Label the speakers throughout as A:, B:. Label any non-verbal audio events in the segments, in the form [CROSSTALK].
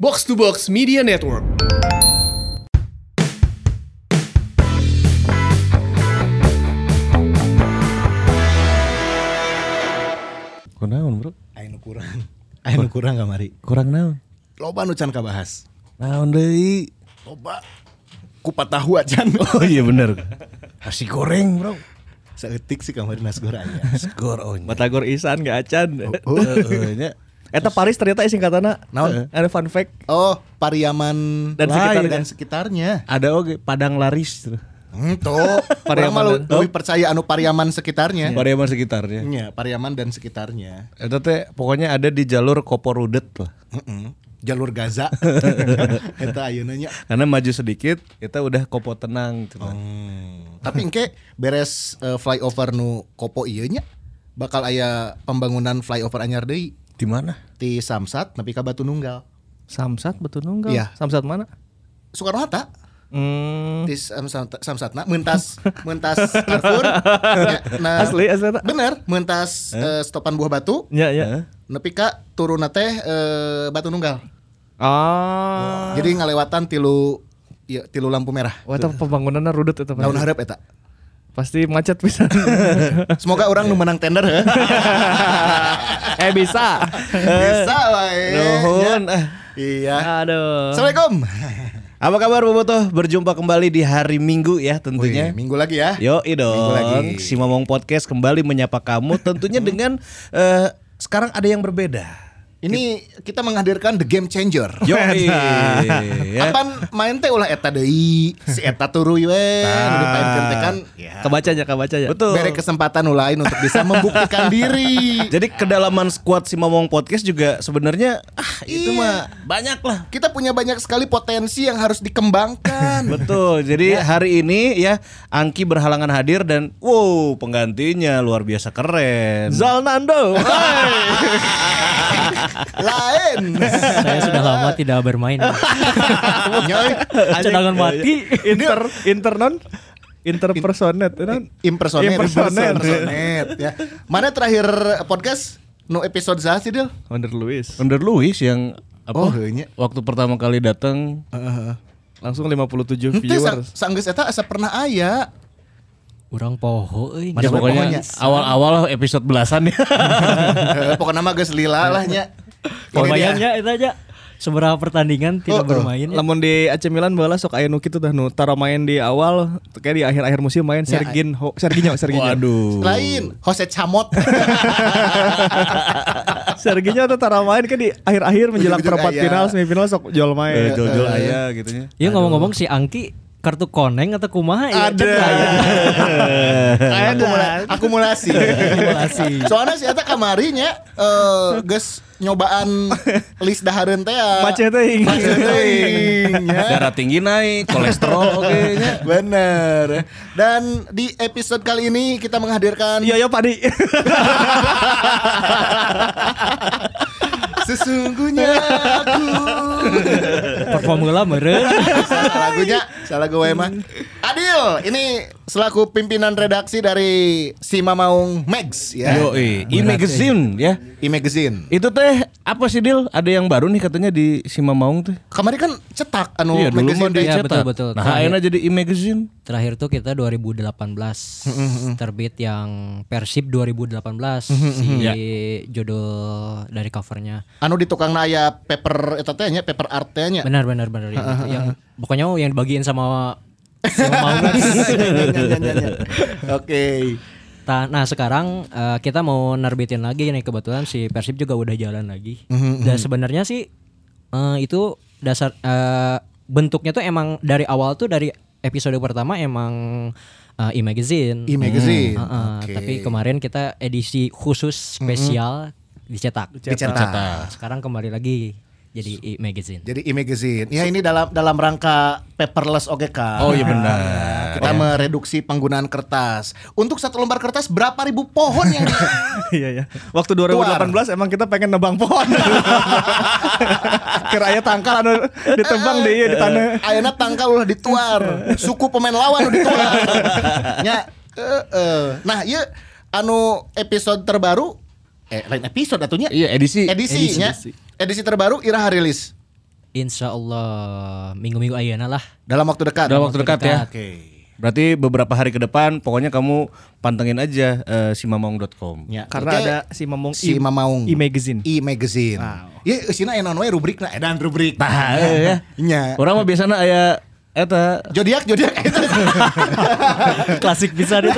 A: Box to Box Media Network.
B: Kunaon bro?
C: Ayo kurang. [LAUGHS] Ayo kurang gak mari.
B: Kurang naon?
C: Loba nu can kabahas.
B: Naon deui?
C: Loba. Kupat tahu
B: [LAUGHS]
C: acan. [LAUGHS]
B: Oh iya bener. Nasi goreng bro.
C: Seetik sih kamari nas goreng.
B: Skor on.
D: Batagor Isan gak acan.
B: Oh,
D: [LAUGHS]
B: Heeh
D: Eta Paris ternyata singkatanna.
C: Naon?
D: Ada fun fact.
C: Oh, Pariaman
D: Dan
C: lain,
D: sekitarnya.
C: dan sekitarnya. Hmm,
B: Ada oge padang laris.
D: Ya.
C: Itu.
D: Pariaman
C: [LAUGHS] Pariaman lu
D: dan-
C: lebih percaya anu Pariaman sekitarnya.
B: Pariaman sekitarnya.
C: Iya, Pariaman dan sekitarnya.
B: Eta teh pokoknya ada di jalur Koporudet lah.
C: Mm-mm. Jalur [LAUGHS] Gaza. Eta ayeuna nya.
B: Karena maju sedikit, kita udah kopo tenang. gitu.
C: Hmm. Tapi engke beres eh, flyover nu kopo ieu nya bakal aya pembangunan flyover anyar deui
B: Di mana?
C: ti Samsat nepi ka Batu Nunggal.
D: Samsat betul nunggal.
C: Iya.
D: Samsat mana?
C: Soekarno Hatta
D: Hmm.
C: di Samsat- Samsatna mentas mentas Carrefour Ya, nah,
D: Asli, asli, tak?
C: bener mentas eh, stopan buah batu
D: Ya ya.
C: nepi ka turuna teh eh, batu nunggal
D: Ah.
C: jadi ngalewatan tilu ieu, tilu lampu merah
D: Wah, itu pembangunannya rudet itu.
C: Laun harap eta
D: Pasti macet bisa.
C: semoga orang nu menang tender he.
D: eh bisa.
C: bisa wae
B: Nuhun. Ah.
C: Ya. iya
D: Aduh.
C: Assalamualaikum
B: Apa kabar Bobotoh? Berjumpa kembali di hari Minggu ya tentunya.
C: Wih, minggu lagi ya
B: Yo dong,
C: lagi.
B: si Momong Podcast kembali menyapa kamu
C: [LAUGHS]
B: tentunya dengan eh, sekarang ada yang berbeda.
C: ini kita menghadirkan the game changer
B: Yo, Ya, Iya.
C: Kapan Nah, kan main teh ulah eta deui, si eta turu we, nu dipaenkeun teh kan
E: Iya.
D: Kebaca aja, kebaca aja.
B: betul.
C: bere kesempatan nu lain untuk bisa membuktikan diri.
B: Jadi kedalaman squad si Momong Podcast juga sebenarnya ah itu
C: Iya.
B: mah banyak lah.
C: Kita punya banyak sekali potensi yang harus dikembangkan.
B: Betul. Jadi hari ini ya Angki berhalangan hadir dan wow penggantinya luar biasa keren.
D: Zalnando.
C: lain.
E: [LAUGHS] saya sudah lama tidak bermain.
C: [LAUGHS] Nyoy,
E: Cadangan mati.
D: Inter Inter non interpersonet
C: ya.
D: non
C: impersonate,
D: Impersonate.
C: impersonate, ya. Mana terakhir podcast no episode sah sih Dil?
D: Wonder Luis.
B: Under Luis yang apa?
C: Oh, heunya.
B: Waktu pertama kali datang
D: Langsung 57
C: Henteu sang-
D: viewers.
C: sanggeus eta asa pernah aya.
E: Orang poho eh. euy.
B: ya pokoknya [LAUGHS] awal-awal episode belasan
E: [LAUGHS]
B: ya.
C: Eh, Pokoknya mah geus lila lah nya. Ini dia.
B: Iya.
E: Pemainnya itu aja. Seberapa pertandingan tidak
C: Oh, oh.
E: bermain.
D: Lamun di AC Milan bola sok aya nu kitu tah nu taro main di awal kayak di akhir-akhir musim main
C: Ya,
D: Sergin Ho, Serginho Serginho.
B: Waduh.
C: Lain, Jose Camot.
D: [LAUGHS] Serginho tuh taro main kan di akhir-akhir menjelang
C: Ujung-ujung
D: perempat
C: aya.
D: final semifinal sok
B: Eh,
D: jol main.
B: jol-jol aja gitunya.
E: Ya ngomong-ngomong si Angki kartu koneng atau kumaha ya?
C: Ada.
B: [LAUGHS]
C: Akumula- akumulasi.
E: Akumulasi.
C: Soalnya si eta kamarinya eh geus nyobaan list dahareun teh. ya.
D: Macet teuing.
C: Macet teuing, ya.
B: Eh, Darah tinggi naik, kolesterol oke ya. [LAUGHS] nya.
C: Bener. Dan di episode kali ini kita menghadirkan
D: Iya ya Padi.
C: sesungguhnya aku.
E: Performula
B: [LAUGHS]
E: meren.
C: salah lagunya, salah gue mah. Adil, ini selaku pimpinan redaksi dari Sima Maung Mags ya.
B: Yo, e-magazine ya.
C: E-magazine.
B: Itu teh apa sih Dil? Ada yang baru nih katanya di Sima Maung teh.
C: Kemarin kan cetak anu
B: iya dulu mah
C: magazine teh.
B: dicetak.
E: Iya, betul-betul.
B: Nah,
E: Terakhir.
B: akhirnya jadi e-magazine.
E: Terakhir tuh kita 2018
B: Mm-hmm,
E: terbit yang Persib 2018
B: Mm-hmm,
E: si judul dari covernya.
C: anu di tukang naya paper eta teh nya paper art teh nya.
E: Benar [LAUGHS] benar benar yang, yang pokoknya yang dibagiin sama [LAUGHS] sama Maung. iya,
C: Oke.
E: Ta- Nah sekarang eh, kita mau nerbitin lagi nih kebetulan si Persib juga udah jalan lagi. Dan sebenarnya sih eh, itu dasar eh, bentuknya tuh emang dari awal tuh dari episode pertama emang eh, e-magazine.
C: E-magazine.
E: Heeh,
C: Oke.
E: Tapi kemarin kita edisi khusus spesial Hmm, dicetak. Nah,
C: Dicetak. Dicetak.
E: Sekarang kembali lagi jadi e-magazine.
C: Jadi e-magazine. Ya ini dalam dalam rangka paperless oke kan.
B: Oh, iya benar. Iya.
C: Kita mereduksi penggunaan kertas. Untuk satu lembar kertas berapa ribu pohon
B: [LAUGHS]
C: yang di-
D: [LAUGHS] Iya ya. Waktu 2018 emang kita pengen nebang pohon. Kira aya tangkal anu ditebang di ieu di tanah.
C: ayeuna Eh, tangkal ulah dituar. Suku pemain lawan udah dituar. [LAUGHS] Nya eh, eh. Nah, ieu anu episode terbaru eh lain episode atunya
B: Iya, edisi.
C: edisinya edisi terbaru Ira Harilis
E: Insya Allah minggu-minggu ayana lah.
C: Dalam waktu dekat. Nah,
B: Dalam waktu dekat, ya.
E: dekat.
B: Oke. Berarti beberapa hari ke depan pokoknya kamu pantengin aja eh, simamong.com.
C: [LAUGHS] Ya.
D: Karena
C: Oke.
D: ada si Mamung
C: si
D: I-
C: Mamaung
D: I-Magazine.
C: I-Magazine. Ya sina enon we rubrikna edan rubrik. Nah,
B: Tah, eh, ya.
C: Nya.
B: Orang mah biasanya aya eta
C: Zodiak zodiak [LAUGHS] eta. Iya.
D: [LAUGHS]
E: Klasik bisa deh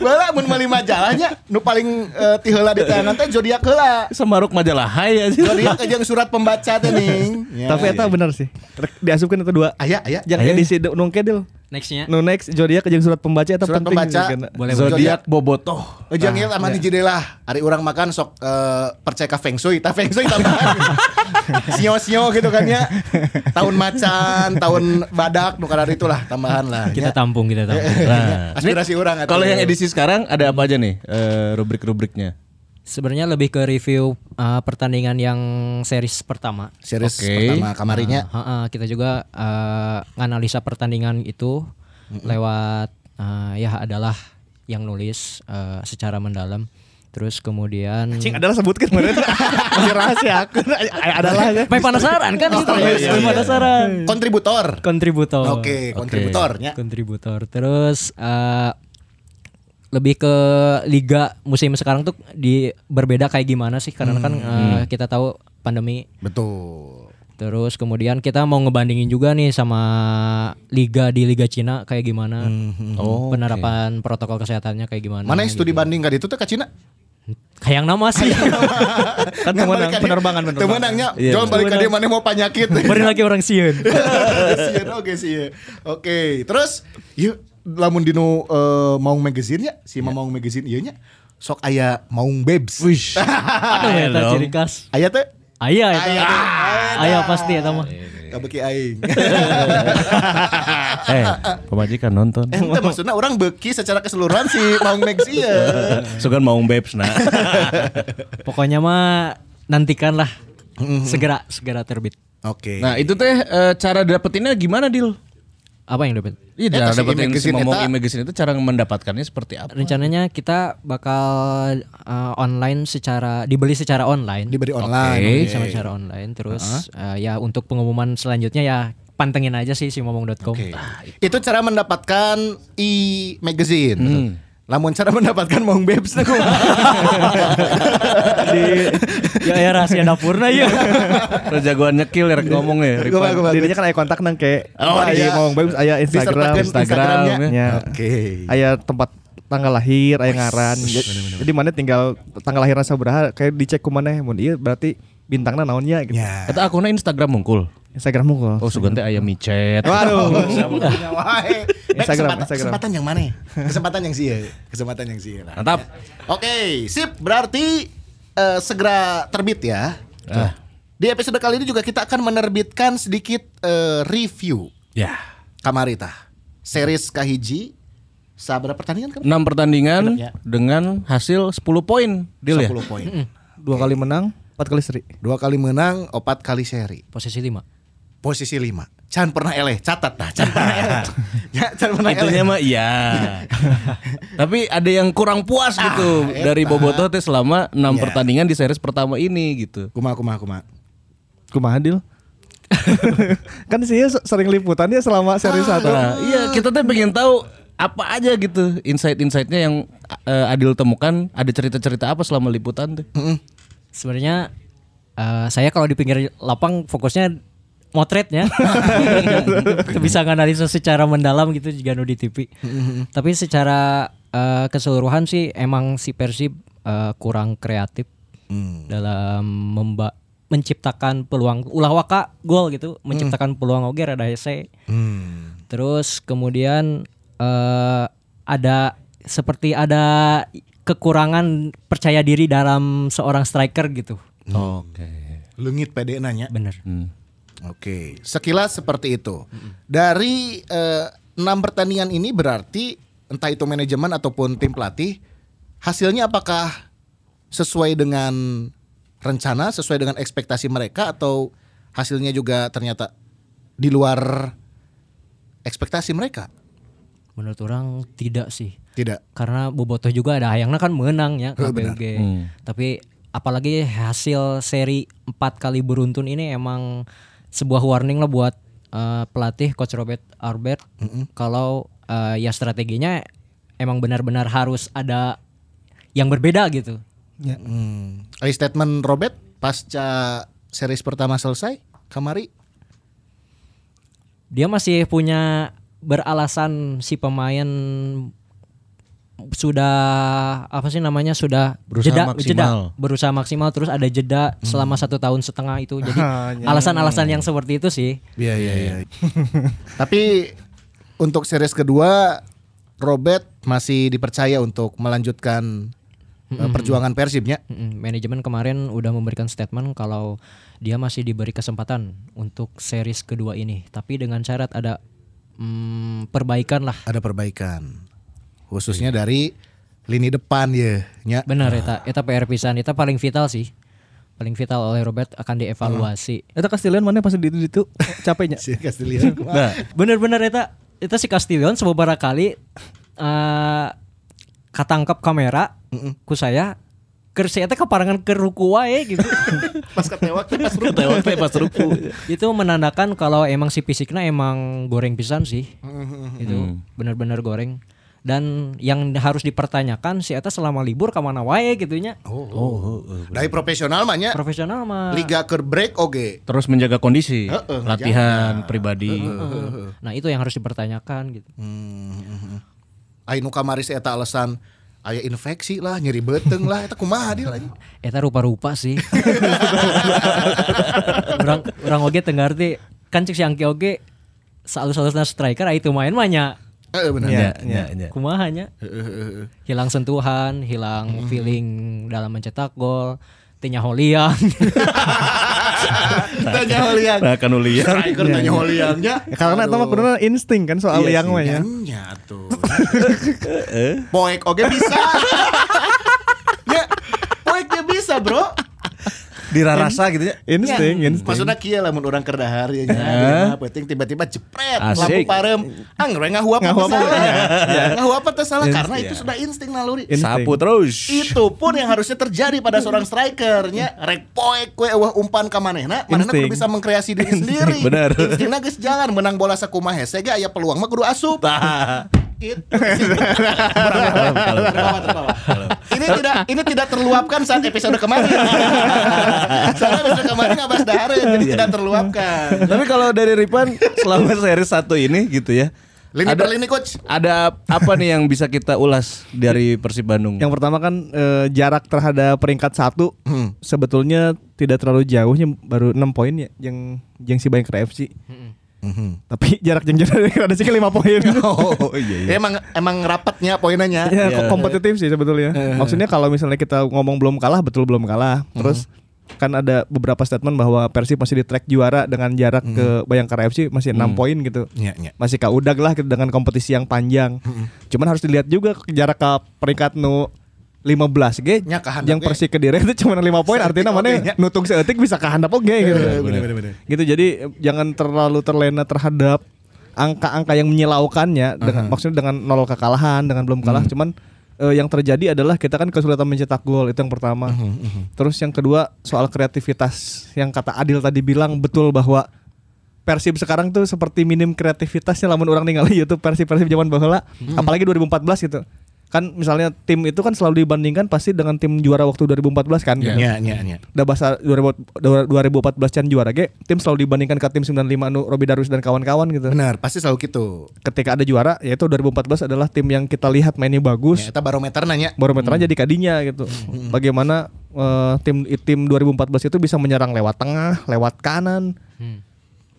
C: Bala mun mali majalahnya nu paling eh, ti heula di tangan teh zodiak heula.
B: semaruk majalah hai ya. aja.
C: Zodiak aja yang surat pembaca teh ning. Ya.
D: Tapi eta benar sih. Rek- Diasupkeun eta dua.
C: aya aya Ya.
D: Jangan di si nung kedil.
E: Nextnya.
D: Nu next zodiak jeung surat pembaca eta
C: surat
D: penting.
C: pembaca.
D: sih, karena-
C: Boleh
B: Zodiak bobotoh.
C: Ujang ieu Oh, iya, sama di jendela. Ari urang makan sok eh, percaya ka feng shui, ta feng shui tambahan. Sio-sio gitu kan ya. Tahun macan, tahun badak nu itu itulah tambahan lah. ya.
E: Kita tampung, kita tampung.
B: Nah.
C: Eh, iya. Aspirasi
B: Ini
C: orang atuh.
B: Kalau yang edisi sekarang ada apa aja nih eh,
C: [LAUGHS]
B: rubrik-rubriknya?
E: Sebenarnya lebih ke review uh, pertandingan yang series pertama.
C: series
B: Oke.
C: pertama kamarinya.
E: Uh, uh, uh, kita juga uh, nganalisa pertandingan itu lewat uh, ya adalah yang nulis uh, secara mendalam. Terus kemudian
D: Cing adalah sebutkan kemarin. [LAUGHS] Masih rahasia aku. Adalah ya.
E: Main penasaran kan gitu. Main penasaran.
C: kontributor.
E: Kontributor.
C: Oke, kontributornya.
E: Kontributor. Terus eh, lebih ke liga musim sekarang tuh di berbeda kayak gimana sih? Karena kan eh, kita tahu pandemi.
C: Betul.
E: Terus kemudian kita mau ngebandingin juga nih sama liga di liga Cina kayak gimana?
B: Oh,
E: penerapan protokol kesehatannya kayak gimana?
C: Mana yang
E: gitu.
C: studi banding ka ditu teh ka Cina?
E: Kayak nama sih.
D: Kan temenang, penerbangan penerbangan.
C: Temenangnya,
B: Iya,
C: jangan balik ke dia mana mau penyakit.
E: [LAUGHS] Beri lagi orang Sieun.
C: Iya, [LAUGHS] Sieun, Oke sih. Oke, terus yuk lamun dino eh, maung magazine-nya, si
D: Ya.
C: Mamang maung magazine ieu nya sok aya maung babes.
B: Wish.
E: Aduh,
B: Ayo
E: ya, eta
B: dong.
E: ciri khas.
C: [LAUGHS] Aya teh
E: Ayah, eta.
C: Aya, aya.
E: Ayah pasti eta mah.
C: Iya.
D: Iya,
C: kabeki
D: [LAUGHS]
C: aing.
B: eh, pemajikan nonton.
C: Eh, ente maksudnya orang beki secara keseluruhan si maung magazine iya. ieu.
B: Sugan mau babes
C: [LAUGHS]
B: nah.
E: Pokoknya mah nantikanlah segera segera terbit.
C: Oke.
B: nah, itu teh eh, cara dapetinnya gimana, Dil?
E: Apa yang dapat?
B: Iya,
C: Eta
B: cara
C: si
B: dapetin si
C: imagazine
B: Mamong
C: Eh, eta.
B: Imagazine itu cara mendapatkannya seperti [LAUGHS] apa?
E: Rencananya kita bakal uh, online secara dibeli secara online,
C: Diberi online.
E: sama secara online terus uh, ya untuk pengumuman selanjutnya ya pantengin aja sih si momong.com.
C: Itu cara mendapatkan e-magazine.
D: Hmm.
C: Lamun cara mendapatkan maung babes nah, teh
D: [LAUGHS]
C: kumaha?
E: Di ya, ya rahasia dapurna ya. [LAUGHS]
B: Lo jagoan nyekil ya rek ngomong ya. rek.
C: Kumaha, kumaha?
D: Dirinya kan aya kontak nang ke
B: Oh,
D: di
C: iya.
D: Mamung Babes aya Instagram,
C: Disertakan Instagramnya.
D: Instagramnya.
C: Oke.
D: Aya tempat tanggal lahir, aya ngaran. Jadi mana tinggal tanggal lahirna sabaraha kayak dicek ku maneh mun ieu berarti bintangna naonnya gitu.
C: Ya.
B: Eta akunnya Instagram mungkul.
D: Instagram mungkul.
B: Oh, sugan teh aya micet.
C: Wae. Baik, kesempatan,
D: Instagram, Instagram.
C: kesempatan yang mana? ya? Kesempatan yang sih Kesempatan yang sih lah.
B: Mantap.
C: Oke, sip. Berarti eh, segera terbit ya.
B: Ah.
C: Di episode kali ini juga kita akan menerbitkan sedikit eh, review
B: Ya.
C: Kamarita. Series Kahiji. Sabar pertandingan kan?
B: 6 pertandingan
C: Ya.
B: dengan hasil 10 poin, Dil ya.
C: 10 poin.
D: Dua kali menang, empat kali seri.
C: Dua kali menang, opat kali seri.
E: Posisi 5.
C: Posisi lima. Can pernah eleh, catat dah. Can pernah
B: [LAUGHS]
C: eleh. ya, can pernah
B: Itunya
C: eleh.
B: mah iya. [LAUGHS] Tapi ada yang kurang puas gitu
C: Ah,
B: dari
C: eta.
B: Bobotoh teh selama 6
C: Ya.
B: pertandingan di series pertama ini gitu.
C: Kumaha, kumaha, kumaha.
D: Kumaha [LAUGHS] Dil? kan sih sering liputannya selama seri satu.
B: Nah, iya kita teh pengen tahu apa aja gitu insight-insightnya yang eh, Adil temukan ada cerita-cerita apa selama liputan [LAUGHS] tuh?
E: Sebenarnya uh, saya kalau di pinggir lapang fokusnya motretnya [LAUGHS] bisa nganalisa secara mendalam gitu juga nu di TV. Tapi secara uh, keseluruhan sih emang si Persib uh, kurang kreatif dalam memba menciptakan peluang ulah waka gol gitu, menciptakan peluang oge rada hese.
C: Hmm.
E: Terus kemudian eh, ada seperti ada kekurangan percaya diri dalam seorang striker gitu.
B: Oke.
C: Hmm. Lengit pede nanya.
E: Bener.
C: Oke, sekilas seperti itu. Dari eh, enam pertandingan ini berarti entah itu manajemen ataupun tim pelatih hasilnya apakah sesuai dengan rencana, sesuai dengan ekspektasi mereka atau hasilnya juga ternyata di luar ekspektasi mereka?
E: Menurut orang tidak sih.
C: Tidak.
E: Karena Bobotoh juga ada hayangnya kan menang ya
C: Heeh,
E: KBG. Tapi apalagi hasil seri 4 kali beruntun ini emang sebuah warning lah buat eh, pelatih coach Robert Arbert kalau eh, ya strateginya emang benar-benar harus ada yang berbeda gitu.
C: Hmm. Ada statement Robert pasca series pertama selesai, Kamari.
E: Dia masih punya beralasan si pemain sudah apa sih namanya sudah
B: Berusaha
E: jeda
B: maksimal. Hmm.
E: jeda berusaha maksimal terus ada jeda selama satu tahun setengah itu
B: [LAUGHS]
E: jadi
B: Ya,
E: alasan-alasan yang seperti itu sih
C: Iya iya iya. [LAUGHS] Tapi untuk series kedua Robert masih dipercaya untuk melanjutkan eh, perjuangan Persibnya.
E: Mm, manajemen kemarin udah memberikan statement kalau dia masih diberi kesempatan untuk series kedua ini tapi dengan syarat ada mm, perbaikan lah
C: Ada perbaikan. Iya. Khususnya dari lini depan ya. Nya. [LAUGHS]
E: benar eta eta PR pisan eta paling vital sih paling vital oleh Robert akan
B: Hmm.
E: dievaluasi
D: Eta Castillian mana pas di itu itu capeknya.
C: Si [LAUGHS] Castillian.
B: Nah,
E: [LAUGHS] Bener-bener eta eta si Castillion beberapa kali eh katangkap kamera ku saya keur si eta keparangan ke ruku wae gitu.
C: Pas ketewak pas
B: kata waktu pas ruku.
E: itu menandakan kalau emang si fisiknya emang goreng pisan sih. itu bener-bener goreng. Dan yang harus dipertanyakan si eta selama libur kemana wae gitunya.
C: Oh, Dari profesional mah nya.
E: Profesional
C: Ya.
E: mah.
C: Liga ke break oke.
B: Terus menjaga kondisi,
C: Heeh,
B: latihan pribadi.
E: Nah, itu yang harus dipertanyakan gitu.
C: Ayo nu kamari si eta alasan aya infeksi lah, nyeri beteng lah, eta kumaha deal anjing.
E: Eta Eh, rupa-rupa sih. [LAUGHS] orang orang oge teu ngarti kan cek si Angki oge salus-salusna striker ah itu main mah nya.
C: Heeh bener.
B: Ya, ya, ya.
E: Kumaha nya? Hilang sentuhan,
C: Hmm.
E: hilang feeling dalam mencetak gol, tinya
C: [LAUGHS]
E: holiang.
C: Tanya Holian.
B: Nah, kan ulian.
C: Striker tanya Holiannya.
D: Ya, [LAUGHS] karena itu mah kuduna insting kan
C: Iya
D: soal yang mah ya.
C: Nya tuh. Poek oke bisa. ya, poeknya bisa, Bro.
B: Dirarasa gitu ya.
D: Insting, insting.
C: Maksudnya kia lamun orang kerdahar ya nya. penting tiba-tiba jepret lampu
B: Asik.
C: parem. Anggere ngahuap
D: Ngahuap
C: apa
D: apa,
C: salah.
D: ya.
C: Ya, Ngahuap apa salah
B: Ins-
C: karena
B: ya.
C: itu sudah insting naluri.
D: Insting.
B: Sapu terus.
C: Itu pun yang harusnya terjadi pada seorang strikernya. Rek poek kue wah umpan ka manehna, manehna kudu
D: Insting.
C: bisa mengkreasi diri sendiri.
B: Bener.
C: Instingna geus jalan menang bola sakumaha hese ge aya peluang mah kudu asup.
B: [LAUGHS] Tah.
C: Itu. Terbawa, terbawa. Ini tidak ini tidak terluapkan saat episode
B: [LAUGHS]
C: kemarin. Soalnya episode kemarin nggak bahas dahar
B: Iya,
C: jadi tidak terluapkan.
B: Tapi kalau dari Ripan selama seri satu ini gitu ya.
C: Lini
B: ada,
C: per lini coach.
B: ada apa nih yang bisa kita ulas dari Persib Bandung?
D: Yang pertama kan eh, jarak terhadap peringkat satu
C: Hmm.
D: sebetulnya tidak terlalu jauhnya baru 6 poin ya yang yang si Bayangkara FC. Tapi jarak yang jarak ada sih 5 kan poin.
C: [LAUGHS]
B: oh iya. iya.
C: Emang emang rapatnya Iya. poinannya.
D: ya, kok kompetitif sih sebetulnya.
C: Iya,
D: Maksudnya kalau misalnya kita ngomong belum kalah, betul belum kalah.
C: Mm-hmm.
D: Terus kan ada beberapa statement bahwa Persib masih di track juara dengan jarak ke Bayangkara FC masih enam poin gitu.
C: Mm-hmm. Iya, iya. Mm-hmm.
D: Masih kaudag lah gitu dengan kompetisi yang panjang. Cuman harus dilihat juga ke- jarak ke peringkat nu 15 ge
C: Nya kahandap
D: yang
C: ge.
D: Persik kediri itu cuma 5 poin artinya mana nutung seetik bisa kahandap oge
C: Iya,
B: Iya,
D: gitu. Gitu jadi eh, jangan terlalu terlena terhadap angka-angka yang menyilaukannya dengan maksudnya dengan nol kekalahan, dengan belum kalah cuman eh, yang terjadi adalah kita kan kesulitan mencetak gol itu yang pertama. Terus yang kedua soal kreativitas yang kata Adil tadi bilang betul bahwa Persib sekarang tuh seperti minim kreativitasnya lamun orang ningali YouTube Persib-Persib zaman baheula, apalagi 2014 gitu. Kan misalnya tim itu kan selalu dibandingkan pasti dengan tim juara waktu 2014 kan. gitu.
C: Iya, iya, iya.
D: Udah bahasa 2000 2014 can juara ge, tim selalu dibandingkan ke tim 95 nu Robi Darwis dan kawan-kawan gitu.
C: Benar, pasti selalu gitu.
D: Ketika ada juara yaitu 2014 adalah tim yang kita lihat mainnya
C: Ya,
D: bagus,
C: eta barometer nanya.
D: barometernya jadi kadinya gitu. Bagaimana eh, tim tim 2014 itu bisa menyerang lewat tengah, lewat kanan.
E: Hmm.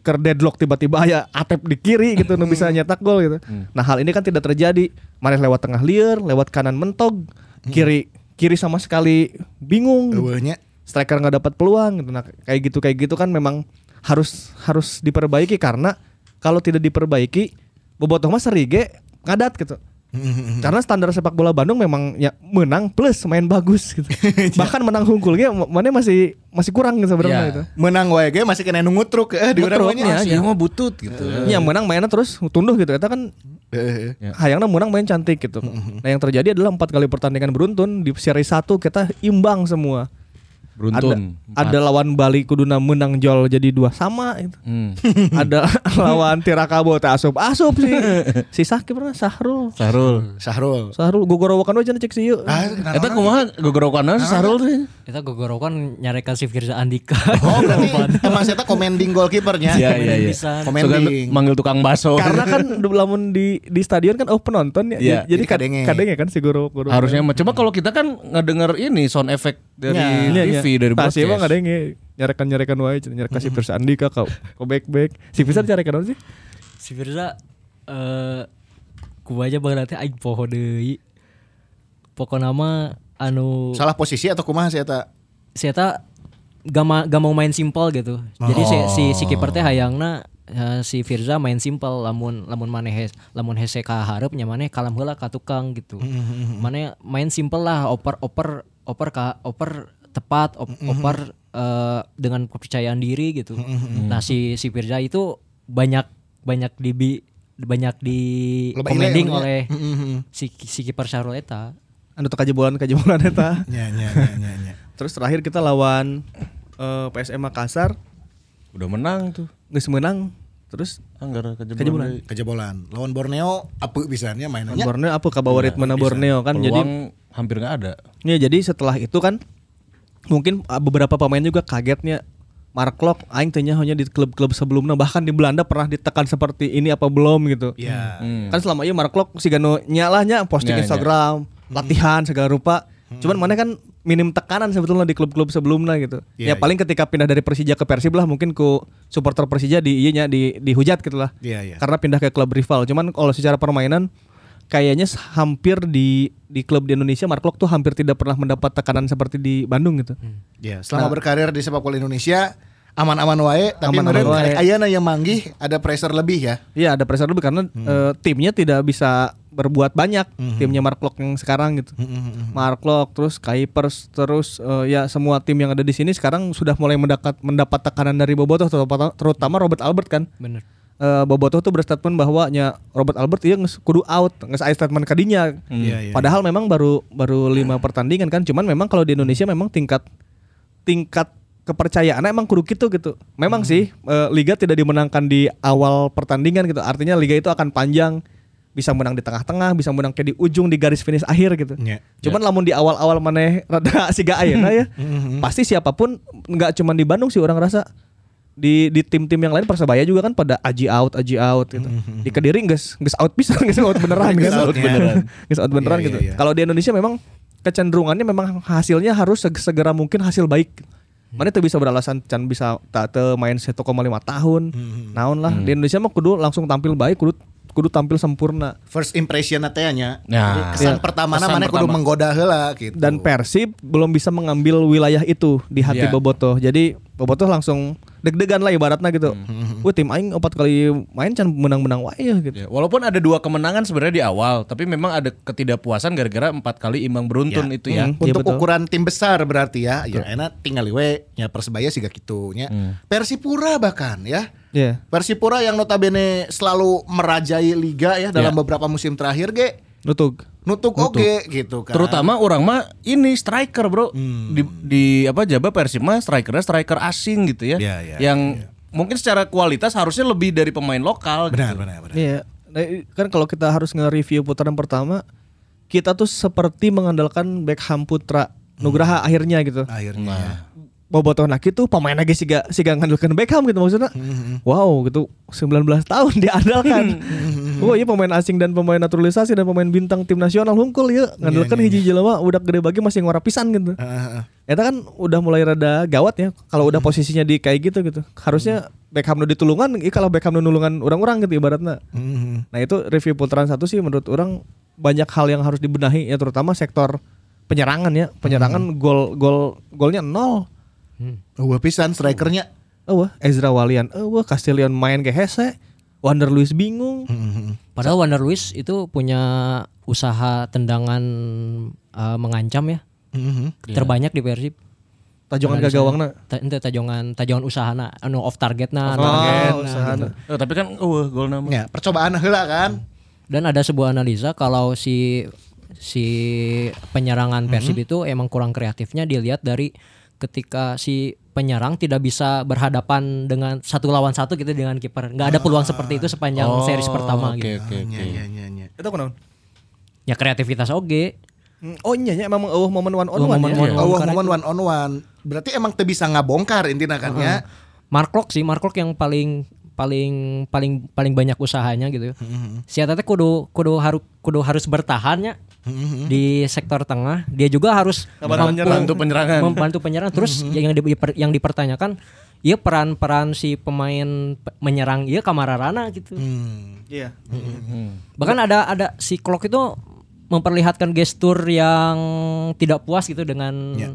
D: Ker deadlock tiba-tiba ya atep di kiri gitu nu bisa nyetak gol gitu. Nah, hal ini kan tidak terjadi. Mana lewat tengah liar, lewat kanan mentog, kiri kiri sama sekali bingung
B: Hmm.
C: Eueuhnya.
D: striker nggak dapat peluang gitu. Nah, kayak gitu kayak gitu kan memang harus harus diperbaiki karena kalau tidak diperbaiki bobotoh mah serige ngadat gitu. Karena standar sepak bola Bandung memang ya menang plus main bagus gitu. Bahkan menang hungkulnya ma- mana masih masih kurang gitu sebenarnya
B: Ya.
D: itu.
C: Menang wae ge masih kena nungutruk eh di urang
D: Ngutruk,
C: we nya.
B: ya, mah butut
C: Iya.
B: gitu.
D: Ya menang mainnya terus tunduh gitu. Itu kan
C: Heeh.
B: Ya.
D: hayangna menang main cantik gitu.
B: Mm-hmm.
D: Nah yang terjadi adalah empat kali pertandingan beruntun di seri 1 kita imbang semua.
B: Beruntun.
D: Ada, ada lawan Bali kuduna menang jol jadi dua sama itu.
B: Hmm. [LAUGHS]
D: ada lawan Tirakabo teh asup asup sih. si Sakib pernah Sahrul.
B: Sarul.
C: Sahrul.
D: Sahrul gogorowakan aja cek sih yuk.
C: Ah, kenapa
B: Eta
C: orang?
B: kumaha gogorokan si Sarul ya. teh.
E: Kita gogorokan nyarekan si Firza Andika.
C: Oh, [LAUGHS] berarti emang saya commanding goalkeepernya.
B: Iya iya iya.
C: Ya,
E: Pisan.
C: Commanding.
B: Sugan manggil tukang baso.
D: Karena kan du- lamun di di stadion kan oh
B: oh. Iya,
D: penonton ya. Jadi, jadi
C: jadi kadenge.
D: kadenge. kadenge kan si goro goro.
B: harusnya mah. coba kalau kita kan ngedenger ini sound effect dari
C: Ya,
D: Iya,
B: TV dari Mm-hmm.
D: Tah,
B: podcast.
D: sih emang kadenge nyarekan nyarekan wae nyarekan si Firsa Andika kau kau back back. Si
B: Mm-hmm.
D: Firsa nyarekan apa sih?
E: [LAUGHS] si Firza eh ku aja bakal nanti aing poho deui. Pokona mah anu
C: Salah posisi atau kumaha sih eta?
E: si eta gak, ma- gak mau main simpel gitu. Jadi si si, si kiper teh hayangna eh, si Firza main simpel lamun lamun maneh hes- lamun hese ka hareup nya maneh kalam heula ka tukang gitu. Maneh main simpel lah oper-oper oper ka oper tepat op- oper eh, dengan kepercayaan diri gitu. Nah si si Firza itu banyak banyak dibi banyak di
C: Loba ile
E: commanding
C: namanya.
E: oleh
C: Mhm.
E: si si kiper Syahrul eta.
D: Anu teu kajebulan kajebulan
C: [LAUGHS]
D: eta.
C: Nya nya nya nya, nya.
D: Terus terakhir kita lawan eh, PSM Makassar
B: udah menang tuh.
D: geus menang. Terus
B: Anggar kejebolan.
D: Kejebolan.
B: deui.
C: Kejebolan. Lawan Borneo apeu pisannya mainannya.
D: Borneo apa kabawa mana Borneo kan jadi
B: Peluang hampir nggak ada.
D: ya jadi setelah itu kan mungkin ah, beberapa pemain juga kagetnya Mark Klok aing tanya hanya di klub-klub sebelumnya bahkan di Belanda pernah ditekan seperti ini apa belum gitu.
C: Iya.
B: Hmm.
D: Kan selama iya Mark Klok sigano nyalahnya posting
B: Nya, nya.
C: Hmm.
D: Instagram, latihan segala rupa. Cuman mana kan minim tekanan sebetulnya di klub-klub sebelumnya gitu.
C: Iya, iya.
D: ya paling ketika pindah dari Persija ke Persib lah mungkin ku supporter Persija di iya nya, di dihujat gitu lah.
C: Iya iya.
D: karena pindah ke klub rival. Cuman kalau secara permainan kayaknya s- hampir di di klub di Indonesia Mark Klok tuh hampir tidak pernah mendapat tekanan seperti di Bandung gitu.
C: Iya, selama berkarir di sepak bola Indonesia aman-aman wae, tapi
D: Aman-aman
C: meureun
D: wae.
C: ayana yang manggih ada pressure lebih ya.
D: Iya ada pressure lebih karena eh, timnya tidak bisa berbuat banyak timnya Mark Klok yang sekarang gitu. Mark Klok terus Kuipers terus eh, ya semua tim yang ada di sini sekarang sudah mulai mendapat mendapat tekanan dari Bobotoh terutama- terutama Robert Albert kan.
E: Bener.
D: Eh, Bobotoh tuh berstatement bahwa nya Robert Albert iya nges kudu out, nges aya statement kadinya.
C: Iya, iya,
D: Padahal memang baru baru lima pertandingan kan, cuman memang kalau di Indonesia memang tingkat tingkat kepercayaan emang kudu gitu gitu. Memang
C: Hmm.
D: sih eh, liga tidak dimenangkan di awal pertandingan gitu. Artinya liga itu akan panjang, bisa menang di tengah-tengah, bisa menang ke di ujung di garis finish akhir gitu.
C: Iya.
D: Cuman lamun di awal-awal maneh rada [LAUGHS] siga ayeuna ya.
C: Hmm.
D: Pasti siapapun nggak cuman di Bandung sih orang rasa di di tim-tim yang lain Persebaya juga kan pada aji out aji out gitu. Di Kediri geus geus out [LAUGHS] pisan geus out beneran geus
C: Geus Hmm. out
D: out
C: beneran.
D: beneran. Geus out beneran
C: Iya,
D: gitu.
C: iya, iya.
D: Kalau di Indonesia memang kecenderungannya memang hasilnya harus seg- segera mungkin hasil baik.
C: Hmm.
D: Mana tuh bisa beralasan can bisa tak teu main 1,5 tahun.
C: Hmm.
D: Naon lah di Indonesia mah kudu langsung tampil baik, kudu kudu tampil sempurna.
C: First impression teh nya.
B: Nah. Iya.
C: kesan pertama
B: Kesan
C: mana kudu
B: pertama.
C: menggoda heula gitu.
D: dan Persib belum bisa mengambil wilayah itu di
B: Iya.
D: hati Bobotoh. Jadi Bobotoh langsung deg-degan lah ibaratnya gitu. Wah tim aing empat kali main can menang-menang wae ya," gitu.
B: Ya, walaupun ada dua kemenangan sebenarnya di awal, tapi memang ada ketidakpuasan gara-gara empat kali imbang beruntun itu ya.
D: Hmm. Iya,
C: untuk
D: betul.
C: ukuran tim besar berarti ya. Ya enak tinggal we nya Persebaya siga kitu nya. Persipura bahkan ya.
D: Iya.
C: Persipura yang notabene selalu merajai liga ya dalam beberapa musim terakhir ge
D: Nutug.
C: nutuk oge gitu kan.
B: Terutama orang mah ini striker, Bro. Di, di apa Jaba Persib mah strikernya striker asing gitu ya.
C: Iya, iya,
B: yang mungkin secara kualitas harusnya lebih dari pemain lokal
C: benar
B: gitu.
C: benar benar.
D: Iya. Nah, i- kan kalau kita harus nge-review putaran pertama, kita tuh seperti mengandalkan Beckham Putra Nugraha akhirnya gitu.
C: Akhirnya.
D: Bobotoh nak itu pemain lagi siga siga ngandalkan Beckham gitu maksudnya. Wow, gitu 19 tahun diandalkan. Wah, iya pemain asing dan pemain naturalisasi dan pemain bintang tim nasional hungkul ya ngandalkan hiji jelema udah gede bagi masih ngora pisan gitu.
C: Heeh.
D: Eta kan udah mulai rada gawat ya kalau udah posisinya di kayak gitu gitu. Harusnya Beckham nu ditulungan, iya kalau Beckham nu nulungan orang-orang gitu ibaratnya.
C: Mhm.
D: Nah, itu review putaran satu sih menurut orang banyak hal yang harus dibenahi ya terutama sektor penyerangan ya. Penyerangan gol gol golnya nol.
C: Eueuh pisan strikernya.
D: Oh, wah, Ezra Walian. Oh, wah, Castillion main ke hese. Wander Luis bingung.
C: Mhm.
E: Padahal Wander Luis itu punya usaha tendangan eh, mengancam ya.
C: Mhm.
E: Terbanyak di Persib.
D: Tajongan ke gawangna.
E: Ta- Ente tajongan tajongan usahana anu off target nah.
D: Oh,
B: Eh, tapi kan uh gol nama.
C: Ya, percobaan heula kan.
E: Dan ada sebuah analisa kalau Mhm. si si penyerangan Persib itu emang kurang kreatifnya dilihat dari ketika si penyerang tidak bisa berhadapan dengan satu lawan satu gitu dengan kiper. Nggak ada peluang seperti itu sepanjang series pertama
B: Oke
E: gitu.
B: oke
C: Ya,
B: oke.
D: Itu kenapa?
E: Ya kreativitas oke.
D: Oh iya nya emang eueuh momen one on
E: Eueuh
D: one.
E: momen
D: ya?
E: one on
C: Oh,
E: Bongkar
C: momen one on one. Berarti emang teu bisa ngabongkar intinya kan ya.
E: Mark Locke sih, Mark Locke yang paling paling paling paling banyak usahanya gitu. Si Eta teh kudu kudu harus kudu harus bertahannya di sektor tengah. Dia juga harus
D: Ngebantu
E: mampu-
D: penyerang.
B: Bantu penyerangan. [LAUGHS]
E: membantu penyerang. Terus yang di- diper- yang dipertanyakan, ya peran-peran si pemain pe- menyerang iya Kamararana gitu.
D: Iya.
E: Bahkan ada ada si Klok itu memperlihatkan gestur yang tidak puas gitu dengan
D: Ya.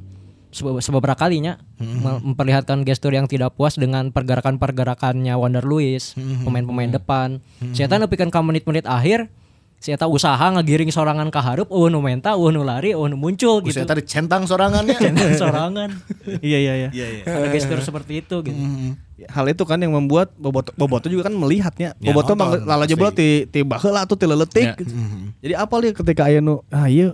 E: sebe- sebeberapa kalinya
D: Hmm.
E: Mem- memperlihatkan gestur yang tidak puas dengan pergerakan-pergerakannya Wander Lewis,
D: Hmm.
E: pemain-pemain depan. Si eta nepikan ka menit-menit akhir, si eta usaha ngegiring sorangan ka hareup, eueuh nu menta, eueuh nu lari, eueuh nu
D: Oh,
E: muncul
C: Gitu.
E: gitu. [LAUGHS]
C: tadi centang ya. sorangannya.
E: sorangan.
D: Iya iya iya. Hmm.
E: ada gestur seperti itu gitu.
D: Hal itu kan yang membuat Boboto Boboto juga kan melihatnya.
E: Ya,
D: Boboto
C: nonton,
D: mang lala jeblok ti ti baheula atuh ti leletik. gitu. [LAUGHS] Jadi apa lihat ketika aya nu ah ieu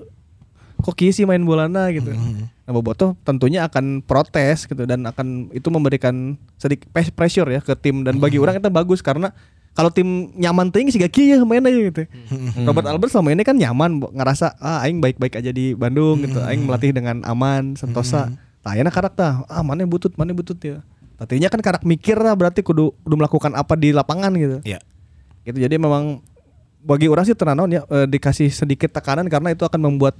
D: kok kieu sih main bolana gitu. Nah Boboto tentunya akan protes gitu dan akan itu memberikan sedikit pes- pressure ya ke tim dan bagi orang itu bagus karena kalau tim nyaman ting sih gak kieu main aja gitu. Robert Albert selama ini kan nyaman bo- ngerasa ah aing baik-baik aja di Bandung gitu. Aing melatih dengan aman, sentosa. Nah, ayeuna karak tah. Ah mana butut, mana butut ya. Tatinya kan karak mikir lah berarti kudu, kudu melakukan apa di lapangan gitu.
C: Iya.
D: Gitu jadi memang bagi orang sih tenanawan ya eh, dikasih sedikit tekanan karena itu akan membuat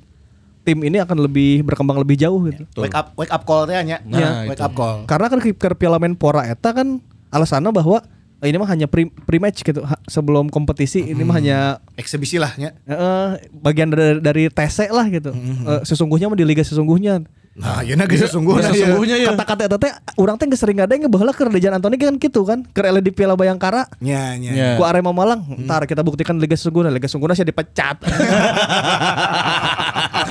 D: tim ini akan lebih berkembang lebih jauh
B: Ya.
D: gitu.
C: Wake up wake up call-nya nya.
B: Nah,
C: Ya, wake
B: itu.
C: up call.
D: Karena kan kiper Piala Menpora eta kan alasannya bahwa eh, ini mah hanya pre, match gitu ha- sebelum kompetisi ini
B: Hmm.
D: mah hanya
C: Eksebisi lah nya.
D: eh, bagian dari, dari TC lah
B: Hmm,
D: gitu. Eh, sesungguhnya mah di liga sesungguhnya.
C: Nah, yeuna geus sesungguhnya.
D: Nah,
B: sesungguhnya ya.
D: Kata-kata eta teh urang teh geus sering ngadeng baheula keur Dejan Antoni kan gitu kan, keur ele di Piala Bayangkara.
C: Nya nya.
B: Ya.
D: Ku Arema Malang, ntar kita buktikan Liga Sungguhna, Liga Sungguhna sih dipecat. [LAUGHS]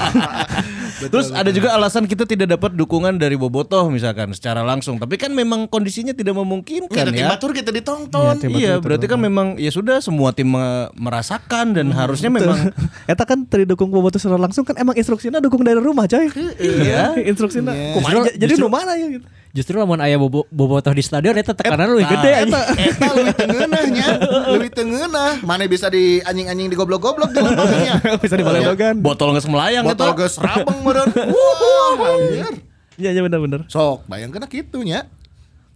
B: Terus ada juga alasan kita tidak dapat dukungan dari Bobotoh misalkan secara langsung, tapi kan memang kondisinya tidak memungkinkan
C: Kan
B: ya.
C: ya. Batur kita ditonton.
D: Iya, tim
B: iya,
D: betul,
B: berarti kan memang ya sudah semua tim eh, merasakan dan harusnya
D: [LAUGHS]
B: memang
D: Gitu. Eta kan teri dukung Bobotoh secara langsung kan emang instruksinya dukung dari rumah coy. Iya, instruksinya. Kumaha j- jadi nu mana ya gitu. [LAUGHS]
E: Justru lamun aya bobo- bobotoh di stadion eta tekanan lebih gede
D: Nah,
E: anjing.
D: eta-
C: Eta leuwih tengeunah nya. Leuwih tengeunah. Mana bisa di anjing-anjing digoblok-goblok di lapangannya.
D: [LAUGHS] Bisa dibalik logan.
B: botol nggak melayang gitu.
C: Botol geus rabeng
D: [LAUGHS]
C: meureun. Wah, anjir.
D: Iya, iya benar-benar.
C: Sok, bayangkeun nah kitu nya.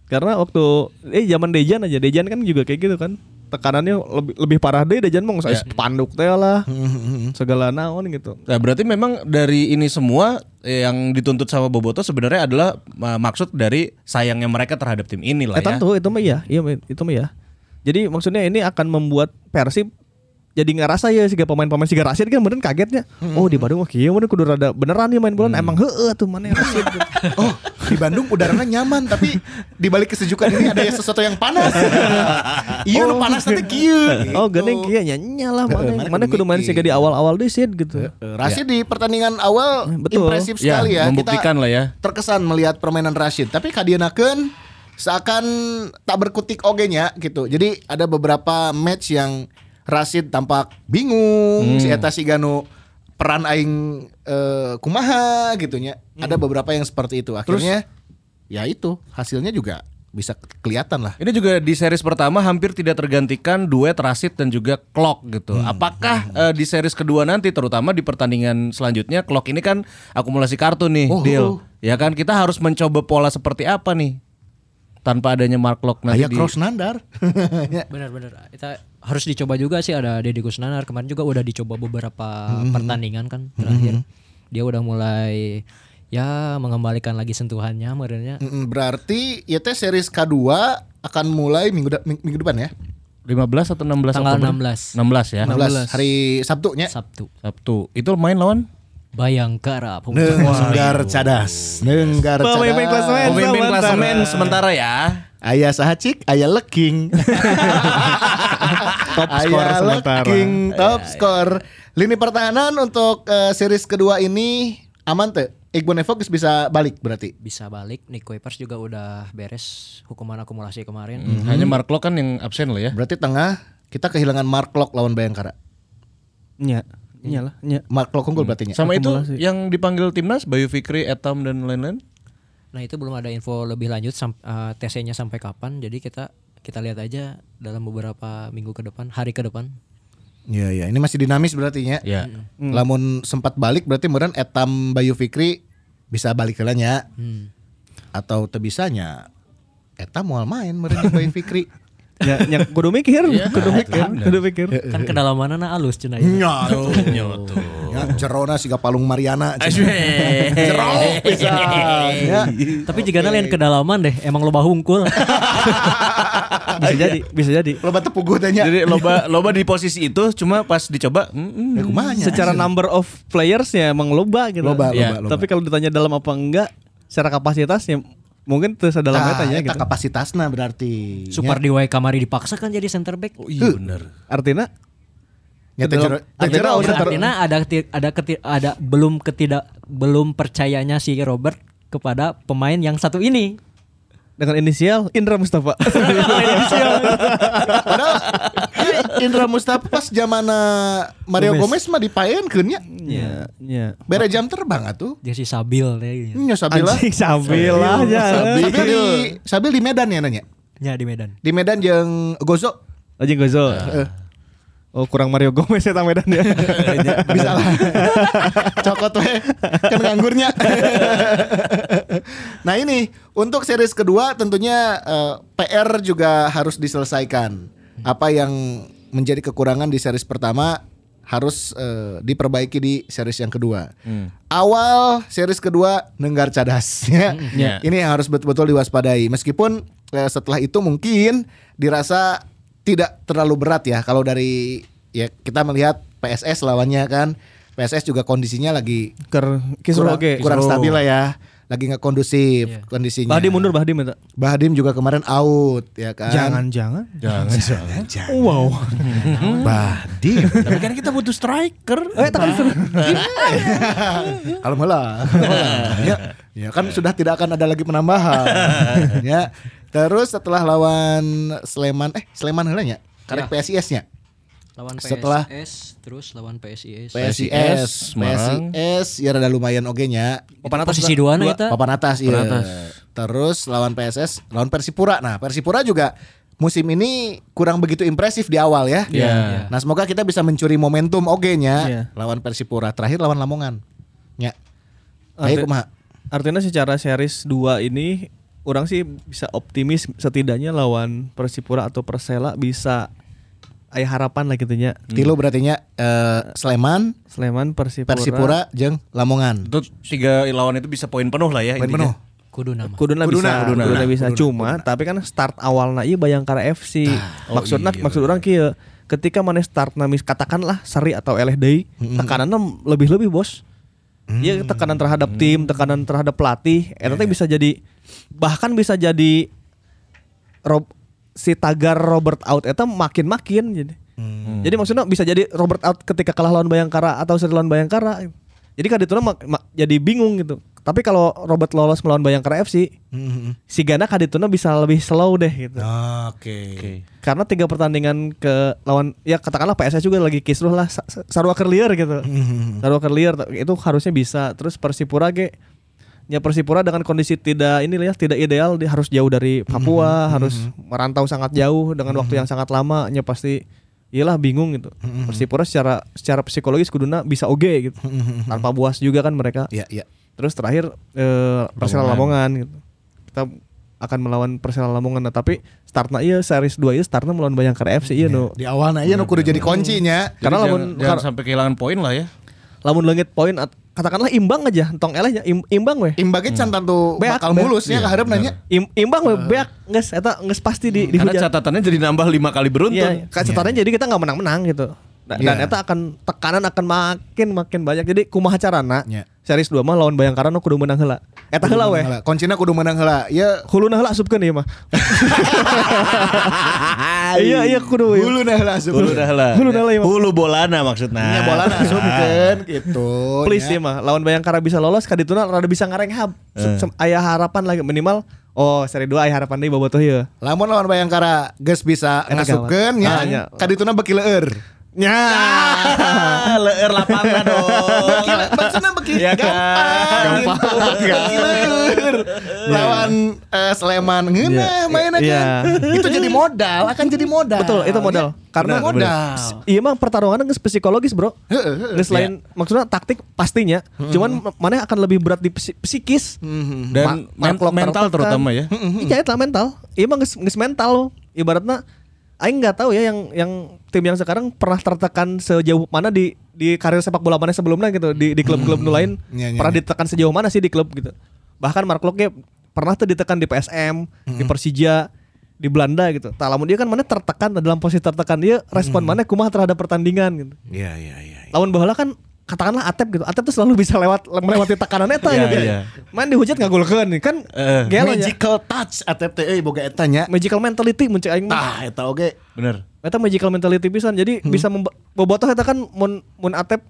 D: Karena waktu eh zaman Dejan aja, Dejan kan juga kayak gitu kan. Tekanannya lebih lebih parah deh Dejan mong saya panduk teh lah. Segala naon gitu.
B: Nah, berarti memang dari ini semua eh, yang dituntut sama Bobotoh sebenarnya adalah eh, maksud dari sayangnya mereka terhadap tim ini lah
D: Eh
B: ya.
D: tentu itu mah ya, iya men, itu mah ya. Jadi maksudnya ini akan membuat Persib jadi ngerasa ya siga pemain-pemain siga Rashid kan beneran kagetnya.
C: Hmm.
D: Oh di Bandung mah kieu meureun kudu rada beneran ya main bola emang heeh tuh mana ya, Rashid.
C: [LAUGHS] Oh, di Bandung udaranya nyaman tapi di balik kesejukan ini ada sesuatu yang
D: [LAUGHS]
C: panas. Iya, nu panas nanti kieu.
D: oh geuning kieu nya nya lah mana
C: Mana
D: mana kudu main
C: mikir.
D: siga di awal-awal deh Sid gitu.
C: Rashid di pertandingan awal
D: Betul.
C: impresif
B: Ya,
C: sekali ya.
B: membuktikan
C: Kita
B: lah ya.
C: Terkesan melihat permainan Rashid, tapi kadienakeun seakan tak berkutik oge nya gitu. Jadi ada beberapa match yang Rashid tampak
B: Hmm.
C: bingung, si Eta Sigano peran aing eh, kumaha gitu nya.
B: Hmm.
C: Ada beberapa yang seperti itu. Akhirnya ya itu hasilnya juga bisa kelihatan lah.
B: Ini juga di series pertama hampir tidak tergantikan duet Rasid dan juga Clock gitu. Apakah eh, di series kedua nanti terutama di pertandingan selanjutnya Clock ini kan akumulasi kartu nih,
C: Oh.
B: deal. Ya kan kita harus mencoba pola seperti apa nih tanpa adanya Mark Clock nanti
C: Aya
B: di
C: cross nandar. [LAUGHS] Ya.
E: Benar-benar. Kita harus dicoba juga sih ada Deddy Kusnanar kemarin juga udah dicoba beberapa pertandingan kan terakhir. Dia udah mulai ya mengembalikan lagi sentuhannya merenya.
C: Mm-mm, Berarti ya teh series K2 akan mulai minggu da- ming- minggu depan ya.
B: 15 atau 16
E: Tanggal
B: Oktober?
E: 16.
B: 16 ya.
C: 16 hari Sabtunya.
E: Sabtu.
B: Sabtu. Itu main lawan
E: Bayangkara
C: Nenggar cadas. Nenggar
D: Pemimpin klasemen.
C: cadas.
B: pemimpin
D: sementara.
B: klasemen sementara ya.
C: Ayah sahacik, ayah leking.
D: [LAUGHS] Top score
C: Ayah
D: sementara. Iya,
C: leking, top skor. Lini pertahanan untuk eh, series kedua ini aman tuh. Iqbal Nevo geus bisa balik berarti.
E: bisa balik. Nick Kuipers juga udah beres hukuman akumulasi kemarin.
B: Hanya Mark Locke kan yang absen loh ya.
C: Berarti tengah kita kehilangan Mark Locke lawan Bayangkara.
D: Nya,
C: Hmm.
D: nya lah, nya.
C: Ya,
D: Hmm.
C: Mark Locke unggul berarti nya.
B: Sama itu
D: akumulasi.
B: yang dipanggil timnas Bayu Fikri, Etam dan lain-lain.
E: Nah itu belum ada info lebih lanjut sam- eh, TC-nya sampai kapan. Jadi kita kita lihat aja dalam beberapa minggu ke depan, hari ke depan.
C: Iya iya, ini masih dinamis berarti ya.
D: Iya.
B: Ya.
C: Lamun sempat balik berarti meureun etam Bayu Fikri bisa balik heula nya.
D: Hmm.
C: Atau teu bisa nya eta moal main meureun jeung Bayu
D: [LAUGHS]
C: Fikri.
D: Ya, yang kudu mikir,
C: Iya.
D: kudu mikir, kudu mikir.
E: Kan kedalamannya alus cina itu.
D: Iya.
C: Nya tuh. Ya, Jerona siga palung
D: [LAUGHS]
C: Mariana. Jerok pisan. Ya.
D: iya.
E: Tapi jika lain kedalaman deh, emang loba hungkul.
D: Bisa jadi, bisa jadi.
C: Loba tepuguh
D: Ya.
C: tanya.
B: Jadi loba loba di posisi itu cuma pas dicoba mm, mm.
C: Ya, kumanya.
D: Secara number of playersnya emang loba gitu.
C: Loba,
B: Ya,
C: loba, loba.
D: Tapi kalau ditanya dalam apa enggak, secara kapasitasnya mungkin tuh sedalam
C: Tah,
D: eta nya
C: eta
D: gitu.
C: kapasitasna berarti.
E: Super di kamari dipaksa kan jadi center back.
B: Iya benar.
D: Artinya
C: Nya teh jero- teh
D: Artinya-
C: jero-
D: center-
E: Artinya ada keti- ada keti- ada belum ketidak belum percayanya si Robert kepada pemain yang satu ini.
D: dengan inisial Indra Mustafa.
C: Padahal Indra Mustafa pas zamana Mario Gomez, mah dipaenkeun nya.
D: Iya, iya.
C: Bere jam terbang atuh.
E: Dia si Sabil deh. gitu.
C: Nya Sabila.
D: Anjing sambil aja.
C: Sabil di Sabil di Medan ya nanya.
E: Ya di Medan.
C: Di Medan jeung Gozo
D: Anjing Gozo. Oh, kurang Mario Gomez eta Medan ya.
C: bisa
D: [LAUGHS]
C: lah. Cokot we kan nganggurnya. nah ini untuk series kedua tentunya eh, PR juga harus diselesaikan. Apa yang menjadi kekurangan di series pertama harus eh, diperbaiki di series yang kedua. Awal series kedua nenggar cadas [LAUGHS] ya. Ini yang harus betul-betul diwaspadai. Meskipun eh, setelah itu mungkin dirasa tidak terlalu berat ya kalau dari ya kita melihat PSS lawannya kan. PSS juga kondisinya lagi
D: Ker kisruh
C: kurang,
D: oge.
C: kurang stabil lah ya lagi nggak kondusif kondisinya
D: Bahdi mundur Bahdi minta.
C: Bahdim juga kemarin out ya kan
D: Jangan-jangan.
C: [LAUGHS]
B: Jangan jangan.
D: Wow.
C: Bahdim
B: Tapi kan kita butuh striker. Eh,
C: kalau
B: [LAUGHS]
C: malah ya, ya kan sudah tidak akan ada lagi penambahan
B: [LAUGHS]
C: ya terus setelah lawan Sleman eh Sleman heula nya karek PSIS nya
E: Lawan PSIS
C: Setelah-
E: terus lawan PSIS.
C: PSIS
B: Semarang.
C: PSIS ya rada lumayan oge nya
E: Papan atas posisi dua nah eta.
C: papan atas iya terus lawan PSS lawan Persipura nah Persipura juga musim ini kurang begitu impresif di awal ya
B: Iya.
C: nah semoga kita bisa mencuri momentum oge nya
D: Iya.
C: lawan Persipura terakhir lawan Lamongan nya Ayo kumaha
D: Hmm. Artinya secara series 2 ini orang sih bisa optimis setidaknya lawan Persipura atau Persela bisa aya harapan lah gitu nya.
C: Tilu berarti nya eh, Sleman,
D: Sleman Persipura.
C: Persipura, jeung Lamongan.
B: itu tiga lawan itu bisa poin penuh lah ya
C: Poin
B: intinya.
C: penuh.
E: Kudu nama.
D: Kuduna,
B: Kuduna,
D: bisa,
B: kuduna.
D: kuduna, bisa. Cuma, tapi kan start awalnya iya Bayangkara FC. Maksudnya, maksud orang kia, ketika mana start namis katakanlah Sari atau LHDI, tekanannya lebih lebih bos. Iya tekanan terhadap tim, tekanan terhadap pelatih, eta teh bisa jadi bahkan bisa jadi Rob, si tagar Robert out eta makin makin jadi. Jadi maksudnya bisa jadi Robert out ketika kalah lawan Bayangkara atau seri lawan Bayangkara. Jadi kan itu jadi bingung gitu. Tapi kalau Robert lolos melawan Bayangkara FC,
C: Hmm,
D: si Gana kadituna bisa lebih slow deh gitu.
C: Oke.
D: Karena tiga pertandingan ke lawan ya katakanlah PSS juga lagi kisruh lah sa- sa- Sarwa Kerlier gitu. Sarwa Kerlier t- itu harusnya bisa. Terus Persipura ge ya Persipura dengan kondisi tidak ini ya tidak ideal dia harus jauh dari Papua, harus merantau sangat jauh dengan waktu yang sangat lama ya pasti iyalah bingung gitu. Persipura secara secara psikologis kuduna bisa oge gitu. Tanpa buas juga kan mereka.
C: Iya, iya.
D: Terus terakhir eh, Persela Lamongan gitu. Kita akan melawan Persela Lamongan nah, tapi startnya iya series 2 iya startnya melawan Bayangkara FC iya no.
C: Di awalna ieu nu kudu jadi kuncinya.
B: Jadi
D: Karena lamun
B: jangan, jangan
D: kar-
B: sampai kehilangan poin lah ya.
D: lamun leungit poin at- katakanlah imbang aja tong elehnya im- imbang weh.
C: Imbagnya can tentu
D: Hmm. Beak,
C: bakal
D: beak.
C: mulusnya ka hareup nanya.
D: Im- imbang weh beak geus eta geus pasti di di
B: Karena
D: hujan.
B: catatannya jadi nambah lima kali
D: Iya,
B: beruntun.
D: kayak catatannya jadi kita nggak menang-menang gitu. Dan, dan
C: Iya.
D: eta akan tekanan akan makin makin banyak. Jadi kumaha carana?
C: Iya.
D: Series 2 mah lawan Bayangkara nu kudu menang heula. Eta heula weh.
C: Heula, Kuncina kudu menang heula. Ya
D: Huluna heula asupkeun ieu mah. Iya iya kudu. ieu.
C: hulu nah heula asup.
B: Hulu dah lah.
D: Hulu dah lah, iya.
B: Hulu bolana maksudnya.
C: Nya Iya, bola na asupkeun gitu.
D: Please
C: nya.
D: ya mah lawan Bayangkara bisa lolos kadituna rada bisa ngarenghab. Se- se- Aya harapan lagi minimal oh seri 2 aya harapan deui bobotoh iya. ieu.
C: Lamun lawan Bayangkara geus bisa
D: Eta
C: ngasupkeun
D: gawat.
C: nya.
D: Ah, nya.
C: Kadituna beki leueur.
D: Nya.
E: Ah,
B: Leer lapangan dong.
C: Beki le- maksudna beki dikit
D: Iya, kan.
C: gampang, gitu. Gila, bener. lawan eh, Sleman ngena main aja
D: Iya.
C: itu jadi modal akan jadi modal
D: Betul, itu modal.
C: Ya, karena
D: Benar,
C: modal
D: Iya emang pertarungan nggak psikologis bro. Nggak selain maksudnya taktik pastinya. Cuman mana akan lebih berat di psi- psikis
B: Dan men-
D: Ma- mark lock
B: mental
D: tertekan.
B: terutama ya.
D: Iya itu mental. Iya emang nges, nges mental loh. Ibaratnya Aing nggak tahu ya yang yang tim yang sekarang pernah tertekan sejauh mana di di karir sepak bola mana sebelumnya gitu di di klub-klub nu lain
C: Iya, iya,
D: pernah
C: iya.
D: ditekan sejauh mana sih di klub gitu bahkan Mark Locke pernah tuh ditekan di PSM di Persija di Belanda gitu tak lamun dia kan mana tertekan dalam posisi tertekan dia respon mana kumah terhadap pertandingan gitu
C: Iya iya iya
D: lawan bola kan katakanlah Atep gitu. Atep tuh selalu bisa lewat melewati tekanan eta
B: Iya,
D: gitu.
B: iya.
D: Main dihujat ngagolkeun kan
C: Eh,
B: Heeh.
D: gelo nya.
C: magical touch ATT euy E, boga eta nya
D: Magical mentality muncul aing mah.
C: tah eta oge
B: Bener.
D: Eta magical mentality pisan. Jadi
C: Hmm.
D: bisa memba- bobotoh eta kan mun mun Atep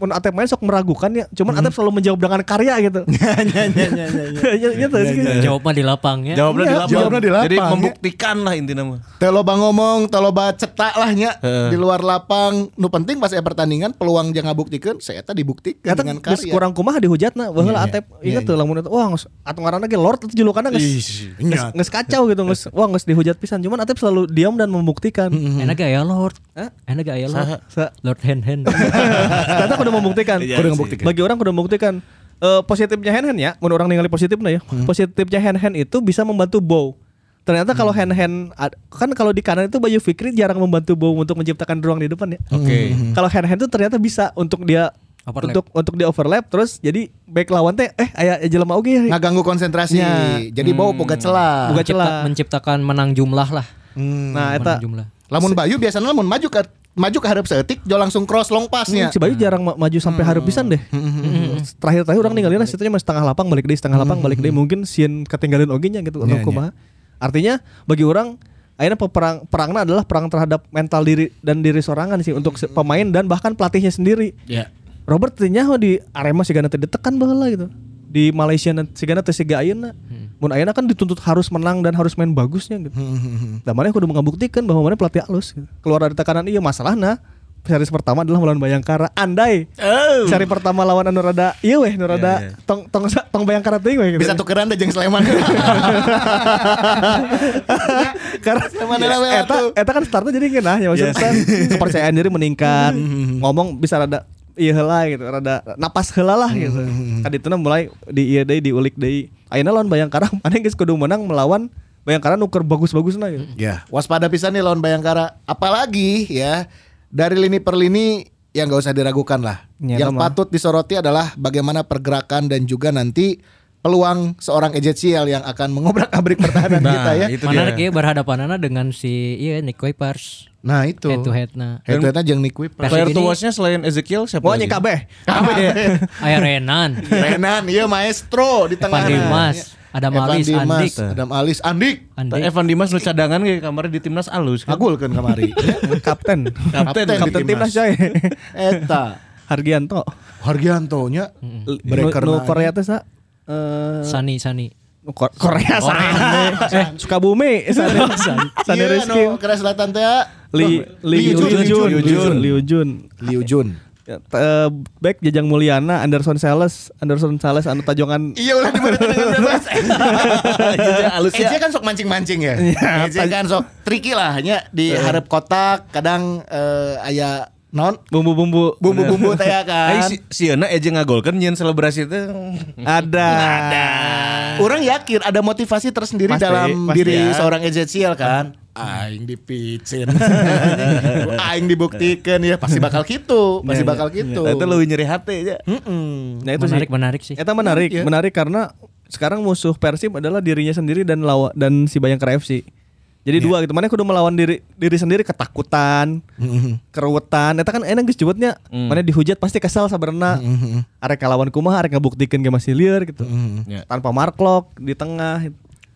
D: mun Atep main sok meragukan ya. Cuman
C: Hmm.
D: Atep selalu menjawab dengan karya
C: [LAUGHS]
D: gitu. [LAUGHS] Iya iya iya.
E: Jawab mah di ya. lapangnya.
B: Jawabnya di
C: Iya,
B: lapang.
C: jawabnya di lapang,
B: Jadi
C: ya.
B: membuktikan lah intinya mah.
C: Teu loba ngomong, teu loba cetak lah nya
B: Heeh.
C: di luar lapang. Nu penting pas aya pertandingan peluang jeung ngabuktikeun, saya eta dibuktikan
D: Eta
C: dengan
D: geus
C: karya.
D: kurang kumaha dihujatna. Wah lah Atep
C: Iya,
D: ingat tuh lamun eta wah nges- atuh ngaranna ge Lord itu julukanna geus.
C: Ih,
D: Nges,
C: iya.
D: nges kacau gitu nges wah nges dihujat pisan. Cuman Atep selalu diam dan membuktikan.
C: Hmm.
E: Enak gak ya Lord?
D: Hah?
E: Enak gak ya Lord?
D: Sa-
E: Lord hand hand.
D: Ternyata aku udah membuktikan.
B: Iya Kudu sih. membuktikan.
D: Bagi orang aku udah membuktikan. Eh, positifnya hand hand ya, menurut orang ningali positifnya ya. Positifnya hand hand itu bisa membantu bow. Ternyata kalau hand hand ad- kan kalau di kanan itu Bayu Fikri jarang membantu bow untuk menciptakan ruang di depan ya.
B: Oke.
D: Kalau hand hand itu ternyata bisa untuk dia
E: Overlap.
D: untuk untuk di overlap terus jadi back lawan teh eh aya aya jelema oge ya.
C: ngaganggu konsentrasi.
D: Nya.
C: Jadi bau boga celah.
D: Boga-
E: Mencipta-
D: celah.
E: menciptakan menang jumlah lah.
D: Nah,
E: Menang
D: eta
E: jumlah.
C: Lamun Bayu biasanya lamun maju ke maju ke hareup saeutik jo langsung cross long passnya.
D: si Bayu jarang ma- maju
C: Hmm.
D: sampai hareup pisan deh. Hmm. Terakhir-terakhir orang
C: Iya,
D: ninggalin lah situnya masih setengah lapang balik deh, setengah lapang balik deh mungkin sieun ketinggalan oge nya gitu
C: Hmm, Iya,
D: yeah, Artinya bagi orang akhirnya perang perangnya adalah perang terhadap mental diri dan diri sorangan sih untuk
C: Hmm,
D: se- pemain dan bahkan pelatihnya sendiri.
B: Ya.
D: Robert Tinyaho di Arema sigana teh ditekan baheula gitu. Di Malaysia na- sigana teh siga ayeuna. Mun ayeuna kan dituntut harus menang dan harus main bagusnya gitu. Dan mana kudu mengabuktikan bahwa mana pelatih halus gitu. Keluar dari tekanan iya masalahna seri pertama adalah melawan Bayangkara. Andai seri pertama lawan anu rada ieu weh anu rada tong tong tong Bayangkara teuing weh gitu.
C: Bisa tukeran deh jeung Sleman.
D: [LAUGHS] karena
C: Sama dalam
D: Ya,
C: lewat
D: eta
C: tuh.
D: eta kan startnya jadi ngena ya maksudnya
B: Yes.
D: kan kepercayaan diri meningkat ngomong bisa rada iya heula gitu rada napas heula lah gitu tadi itu mulai di ieu deui diulik deui ayeuna lawan Bayangkara mana geus kudu menang melawan Bayangkara nuker bagus-bagusna gitu
C: Ya, waspada pisan nih lawan Bayangkara. Apalagi ya dari lini per lini yang gak usah diragukan lah.
D: Ya,
C: yang
D: itu mah.
C: patut disoroti adalah bagaimana pergerakan dan juga nanti peluang seorang Ezekiel yang akan mengobrak-abrik pertahanan
B: Nah,
C: kita ya.
B: itu dia.
E: Mana ge berhadapanana nah dengan si iya Nick Kuipers.
C: Nah, itu.
E: Head to headna.
C: Head to headnya jeung Nick Wipers.
E: Persib
B: Player to
E: ini-
B: watch-nya selain Ezekiel siapa?
D: Mau
B: lagi?
D: nya kabeh
E: Aya Renan.
C: Renan, iya maestro di tengah. Iya.
E: Dimas, Adam Alis, Andik.
C: Adam Alis, Andik.
B: Ta-
E: Andi.
B: Evan Dimas lu cadangan kayak kamarnya di timnas alus kan?
C: Agul kan
D: [LAUGHS]
C: kamari.
D: kapten
B: Kapten,
C: Kapten
D: kapten
C: di
D: timnas
C: timnas.
D: coy
C: Eta.
D: Hargianto
C: Hargianto nya breaker
D: nu, nu
C: na-
D: Korea teh sa eh,
E: Sani Sani.
D: Ko- Korea sa eh Sukabumi Sani Sani
C: Iya,
D: Rizky
C: nu Korea Selatan teh.
D: Li Li
C: Liu Jun, Liu Jun.
D: Liu Jun Liu Jun
C: Liu Jun.
D: Ya, t- eh, back Jajang Mulyana, Anderson Sales, Anderson Sales anu tajongan
C: Iya ulah di mana tadi yang bebas.
B: Iya, alusnya.
C: Eja kan sok mancing-mancing ya. Eja kan sok tricky lah nya di hareup kotak kadang eh, aya non
D: bumbu-bumbu
C: bumbu-bumbu teh
B: Ai
C: kan.
B: si Siena aja ngagolkan nyen selebrasi itu.
D: ada.
C: Orang yakin ada motivasi tersendiri
D: Pasti,
C: dalam
D: pasti
C: diri
D: ya.
C: seorang Ezekiel kan. Aing dipicin. Aing dibuktikan ya pasti bakal gitu, pasti bakal gitu. Hmm.
B: Nah, itu lebih nyeri hati aja.
C: Mm-mm.
D: Nah itu
E: Menarik
D: sih.
E: menarik sih.
D: Eta menarik, menarik karena sekarang musuh Persib adalah dirinya sendiri dan lawa dan si Bayangkara FC. Jadi dua gitu. Mana kudu melawan diri diri sendiri ketakutan, Hmm. keruwetan. Eta kan enak geus jebotnya. Mana dihujat pasti kesal sabarna. Arek kalawan kumaha arek ngabuktikeun ge masih liar gitu.
B: Ya.
D: Tanpa marklok di tengah.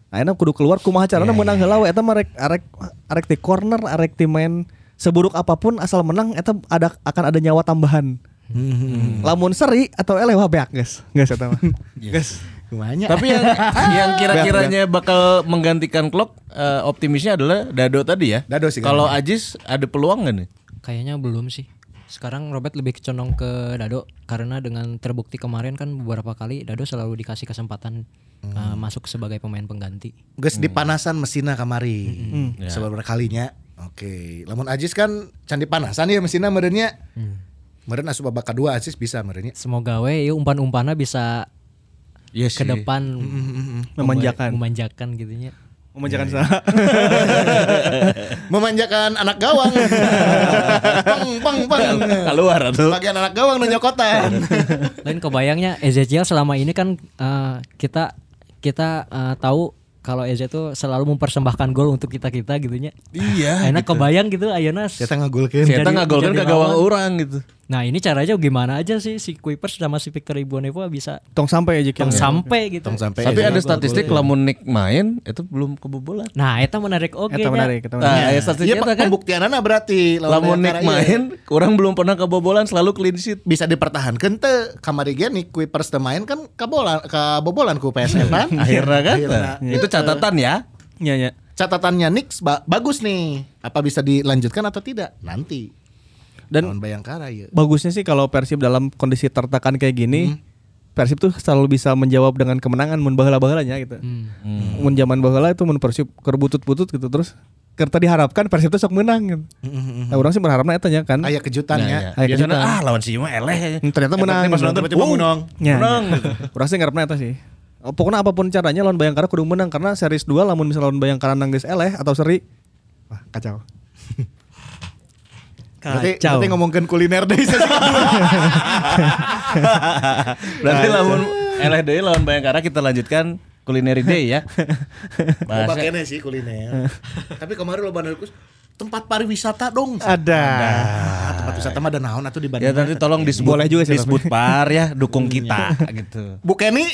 D: Nah, enak kudu keluar kumaha carana menang heula we. eta mah arek arek arek di corner, arek di main seburuk apapun asal menang eta ada akan ada nyawa tambahan. Lamun seri atau elewah beak guys, guys eta mah. Guys.
C: Kumanya.
E: Ya.
B: Tapi
E: [LAUGHS]
B: yang yang kira-kiranya bakal menggantikan Klok eh, optimisnya adalah Dado tadi ya.
C: Dado sih,
B: Kalau Ajis ada peluang gak nih?
E: Kayaknya belum sih. Sekarang Robert lebih condong ke Dado karena dengan terbukti kemarin kan beberapa kali Dado selalu dikasih kesempatan
D: Hmm.
E: eh, masuk sebagai pemain pengganti.
C: Geus dipanasan mesina kamari.
B: Ya.
C: Sebab berkalinya. Oke, lamun Ajis kan candi panasan ya mesina merenya.
B: Hmm.
C: Meren asup babak kedua Ajis bisa merenya.
E: Semoga we ieu umpan-umpannya bisa
B: Yes,
E: ke depan
D: Hmm, Memanjakan.
E: memanjakan gitunya.
D: Memanjakan saha.
C: Memanjakan anak
B: [LAUGHS]
C: gawang. peng peng peng.
B: Keluar tuh.
C: Bagian anak gawang nu nyokotan.
E: Lain kebayangnya Ezekiel selama ini kan eh, kita kita eh, tahu kalau Eze tuh selalu mempersembahkan gol untuk kita-kita gitunya.
A: Iya.
E: [LAUGHS] Enak kebayang gitu ayeuna.
C: Kita ngagulkeun.
B: Saya
E: Jadi-
B: ngagolkan
E: jadi
B: ke gawang
E: lawan.
B: orang gitu.
C: Iya,
E: Nah, ini caranya gimana aja sih si Kuipers sama si Victor Ibuanevo bisa
D: Tong sampai aja
E: tong sampai gitu.
C: Tong sampai.
B: Tapi
C: Eze.
B: ada statistik lamun Nick main itu belum kebobolan.
E: Nah, eta menarik oke
D: Eta menarik, eta menarik.
B: Nah, ya,
C: Iya,
B: statistiknya kan
C: pembuktianana berarti lawan
B: lamun Nick
C: Bayangkara ieu.
B: main kurang belum pernah kebobolan selalu clean sheet.
C: bisa dipertahankan teu kamari ge nih Kuipers teu main kan kabolan kabobolan ku PSM kan
B: Akhirnya kan.
C: Akhirna.
B: Nah, Itu catatan ya.
D: Iya, iya.
C: catatannya Nix ba- bagus nih apa bisa dilanjutkan atau tidak nanti
D: Dan
C: lawan Bayangkara ya
D: bagusnya sih kalau Persib dalam kondisi tertekan kayak gini, Persib tuh selalu bisa menjawab dengan kemenangan mun baheula-baheulanya gitu.
B: Hmm.
D: Mun zaman baheula itu mun Persib keur butut-butut gitu terus kerta diharapkan Persib tuh sok menang gitu. Nah, orang sih berharapnya eta nya kan.
C: ayah
B: Nah, ya.
C: kejutannya
D: Ayo
B: Biasanya
D: kita.
B: ah lawan si Yuma eleh.
D: Hmm, Ternyata menang. Ya,
B: Pas nonton tiba-tiba gitu.
D: Wow.
B: menang.
D: Nya, nya.
B: Menang.
D: Urang sih ngarepna eta sih. Oh, Pokoknya apapun caranya lawan Bayangkara kudu menang karena series 2 lamun misalnya lawan Bayangkara nanggeus eleh atau seri wah
B: [LAUGHS]
D: kacau.
C: berarti, berarti ngomongkan kuliner deh
D: ya.
B: Berarti lamun eleh deui lawan Bayangkara kita lanjutkan culinary day [LAUGHS] ya. Bahasa
C: pakainya sih kuliner [LAUGHS] tapi kemarin lo bandar kus tempat pariwisata dong
D: Ada.
C: Ah, tempat wisata mah ada naon atau di
B: Ya
C: Bandung
B: nanti tolong disebut
D: Boleh juga sih,
B: disebut par ya dukung kita gitu.
C: Bu Kenny,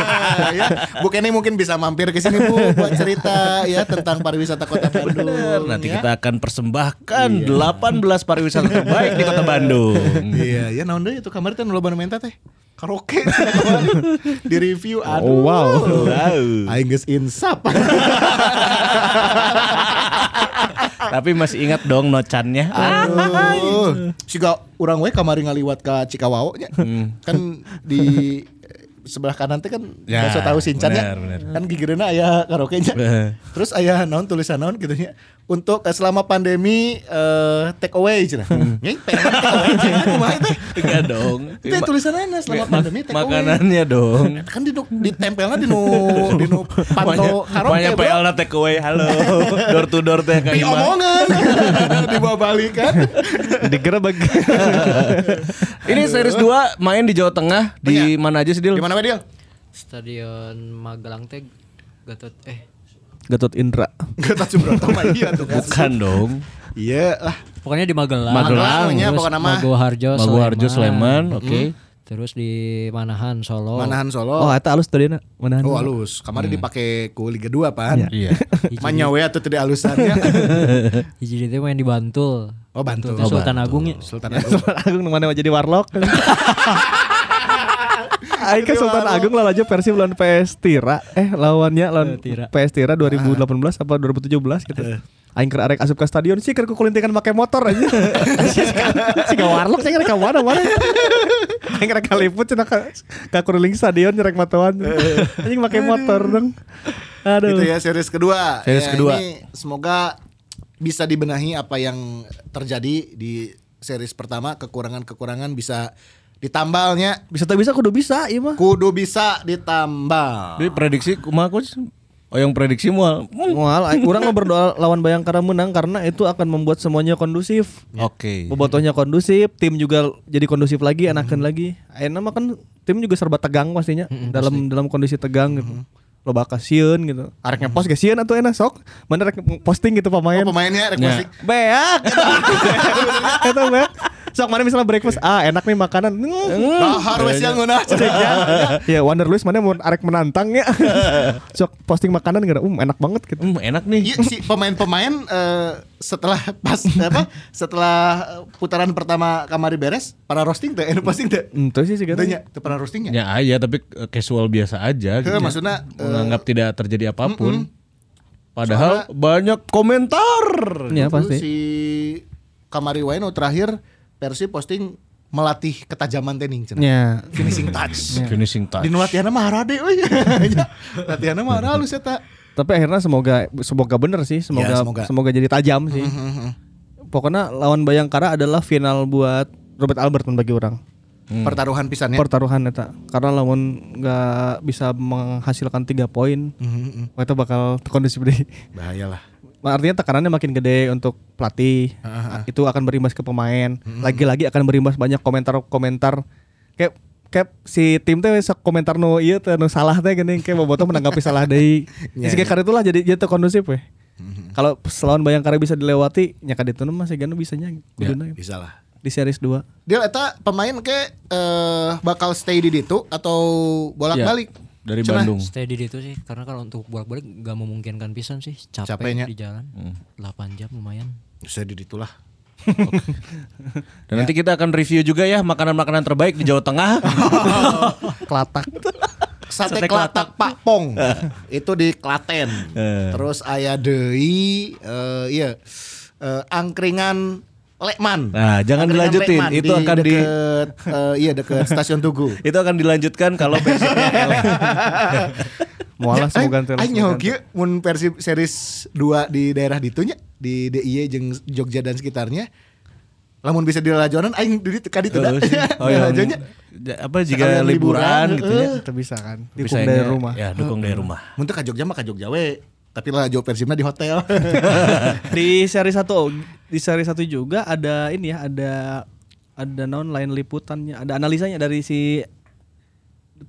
C: [LAUGHS] ya, Bu Kenny mungkin bisa mampir ke sini Bu buat cerita ya tentang pariwisata Kota Bandung.
B: Bener, nanti
C: ya.
B: kita akan persembahkan 18 pariwisata terbaik di Kota Bandung.
C: Iya, ya naon deui itu kamari teh nu loba nu menta teh. Karaoke [LAUGHS] di review aduh.
D: Oh, wow.
B: Wow.
C: Aing geus insap. [LAUGHS]
B: Tapi masih ingat dong nocannya.
C: Aduh. Siga urang we kamari ngaliwat ka Cikawao nya.
B: Hmm.
C: Kan di sebelah kanan teh kan
B: Ya,
C: bisa tahu sincannya
B: bener, bener.
C: kan gigireuna aya karaoke nya
B: Heeh.
C: terus aya naon tulisan naon gitu nya untuk eh, selama pandemi eh, take away cenah
B: Hmm.
C: Nying, pengen take away cenah kumaha teh
B: Enggak dong.
C: teh tulisanana selama
B: Ma-
C: pandemi take away
B: makanannya dong.
C: kan di ditempelnya di nu di nu
B: Banyak
C: panto karaoke bro.
B: PL na take away halo. Door to door teh
C: Tapi
B: kayak gimana? [LAUGHS]
C: omongan dibawa balik kan
D: Digerebek.
B: Ini series 2 main di Jawa Tengah
C: Iya.
B: di mana aja sih Dil?
C: di mana dia
E: Stadion Magelang teh Gatot eh
D: Gatot Indra.
C: Gatot Subroto mah iya tuh kan
B: Bukan dong.
C: [LAUGHS] iya lah
E: pokoknya di Magelang.
C: Magelang, nya
E: terus
C: pokoknya mah.
E: Maguwarjo,
B: Maguwarjo Sleman, oke.
E: Terus di Manahan Solo.
C: Manahan Solo
D: Oh, eta alus tadina. Manahan.
C: oh halus kemarin dipakai ku Liga 2 pan
B: Iya.
C: [LAUGHS] manyawe atau tidak ya? halusannya
E: [LAUGHS] Hiji di teh main di Bantul.
C: oh Bantul
E: Teh Sultan Agungnya.
C: Sultan Agung
D: Sultan Agung mana jadi [LAUGHS] warlock. Aing ke Sultan Agung lah aja versi lawan PS Tira. Eh lawannya lawan PS Tira Ah. 2018 apa 2017 gitu. Aing keur arek asup ke stadion sih keur kukulintingan make motor [LAUGHS] aja. Sih ka warlock saya rek mana [LAUGHS] mana. Aing rek kaliput cenah ka ka kuruling stadion nyerek matoan. Anjing make motor dong.
C: gitu
D: Aduh.
C: ya series kedua
B: Series
C: Ya,
B: kedua.
C: ini semoga bisa dibenahi apa yang terjadi di series pertama kekurangan-kekurangan bisa ditambalnya
D: Bisa tak bisa kudu bisa ieu mah.
C: kudu bisa ditambal
B: Jadi prediksi kumaha coach? Oh yang prediksi mual. Hmm.
D: Mual, aing- urang Eh, mah berdoa lawan Bayangkara menang karena itu akan membuat semuanya kondusif.
B: Ya. Oke.
D: Bobotohnya kondusif, tim juga jadi kondusif lagi, enakan lagi. Ayeuna mah kan tim juga serba tegang pastinya dalam dalam kondisi tegang gitu. Loba kasieun gitu. Arek ngepost ge sieun atuh enak sok. Mana rek posting gitu pemain.
C: Oh, pemainnya rek
B: Ya.
C: musik.
D: Beak. [LAUGHS] Eta beak. Sok mana misalnya breakfast, ah enak nih makanan. Hmm.
C: [LAUGHS] Dahar wes yang ngeunah.
D: Cek ya. Ya Wonder Luis mana mau arek menantang ya. Sok posting makanan gara, um enak banget gitu.
B: Hmm, enak nih.
C: Iya, si pemain-pemain eh, setelah
B: [LAUGHS]
C: pas apa setelah eh, putaran pertama kamari beres para roasting teh anu posting teh
D: Hmm, terus sih sih gitu.
C: tanya teu pernah roastingnya
B: Ya aja tapi eh, casual biasa aja gitu.
C: Heh, maksudnya, eh,
B: menganggap tidak terjadi apapun. Padahal banyak komentar.
D: Ya
C: Terus
D: pasti.
C: si kamari wae nu terakhir Persib posting melatih ketajaman teh cenah.
D: Nya.
C: Finishing touch.
B: Finishing Ya. [LAUGHS] touch.
C: Iya. Di latihannya mah harade
B: [LAUGHS]
C: euy. Nya. Latihannya mah halus eta.
D: Tapi akhirnya semoga semoga bener sih, semoga
C: Ya, semoga.
D: semoga. jadi tajam sih. Pokoknya lawan Bayangkara adalah final buat Robert Albert bagi orang.
B: Hmm.
C: Pertaruhan pisannya.
D: Pertaruhan eta karena lawan nggak bisa menghasilkan tiga poin.
C: Mhm, mhm.
D: Kita Oh, bakal kondusif deh.
C: Bahayalah.
D: Artinya tekanannya makin gede untuk pelatih.
C: Ah,
D: Itu akan berimbas ke pemain. Lagi-lagi akan berimbas banyak komentar-komentar kayak kayak si tim teh sok komentar nu ieu teh nu salah teh gini kayak bobotoh menanggapi salah deui.
C: [LAUGHS] Iya, Mm-hmm.
D: Ya, Sehingga karena itulah jadi jadi teu kondusif we. Kalau selawan Bayangkara bisa dilewati, nya kaditu nu masih gana bisanya kuduna
C: Bisa lah.
D: di series 2.
C: Dia eta pemain ke eh, bakal stay di ditu atau bolak-balik
B: Iya, dari
C: Cenah.
B: Bandung.
E: Stay di itu sih karena kalau untuk bolak-balik gak memungkinkan pisan sih capek
C: Capeknya.
E: di jalan 8 jam lumayan
C: Stay di ditu lah.
B: Dan nanti kita akan review juga ya makanan-makanan terbaik di Jawa Tengah.
C: [LAUGHS]
D: Kelatak.
C: Sate,
B: Sate
C: Kelatak Pak
B: [LAUGHS]
C: Pong
B: Eh.
C: itu di Klaten. Terus aya deui eh, iya eh, angkringan Lekman.
B: Nah, jangan
C: Angkringan
B: dilanjutin.
C: Lekman
B: Itu akan di-
C: deket, eh, iya dekat stasiun
B: [LAUGHS]
C: Tugu.
B: Itu akan dilanjutkan kalau [LAUGHS] persibnya eleh.
C: Eh,
D: Mualah semoga teu
C: [LAUGHS] Aing nyaho kieu mun versi series 2 di daerah ditunya di DIY jeung Jogja dan sekitarnya. Lamun bisa di lajonan aing [LAUGHS] di ditu ka ditu da.
B: Oh iya.
C: Lajonnya.
B: Apa jika
C: Sekalian
B: liburan
C: liburan,
B: gitu ya.
D: Teu bisa kan.
B: Tapi
D: Dukung
B: sayangnya,
D: dari rumah.
B: Ya, dukung dari rumah.
C: Mun teu ka Jogja mah ka Jogja we. Tapi lah jauh persibna di
B: [LAUGHS]
C: hotel.
D: [LAUGHS] di seri satu di seri satu juga ada ini ya ada ada non lain liputannya ada analisanya dari si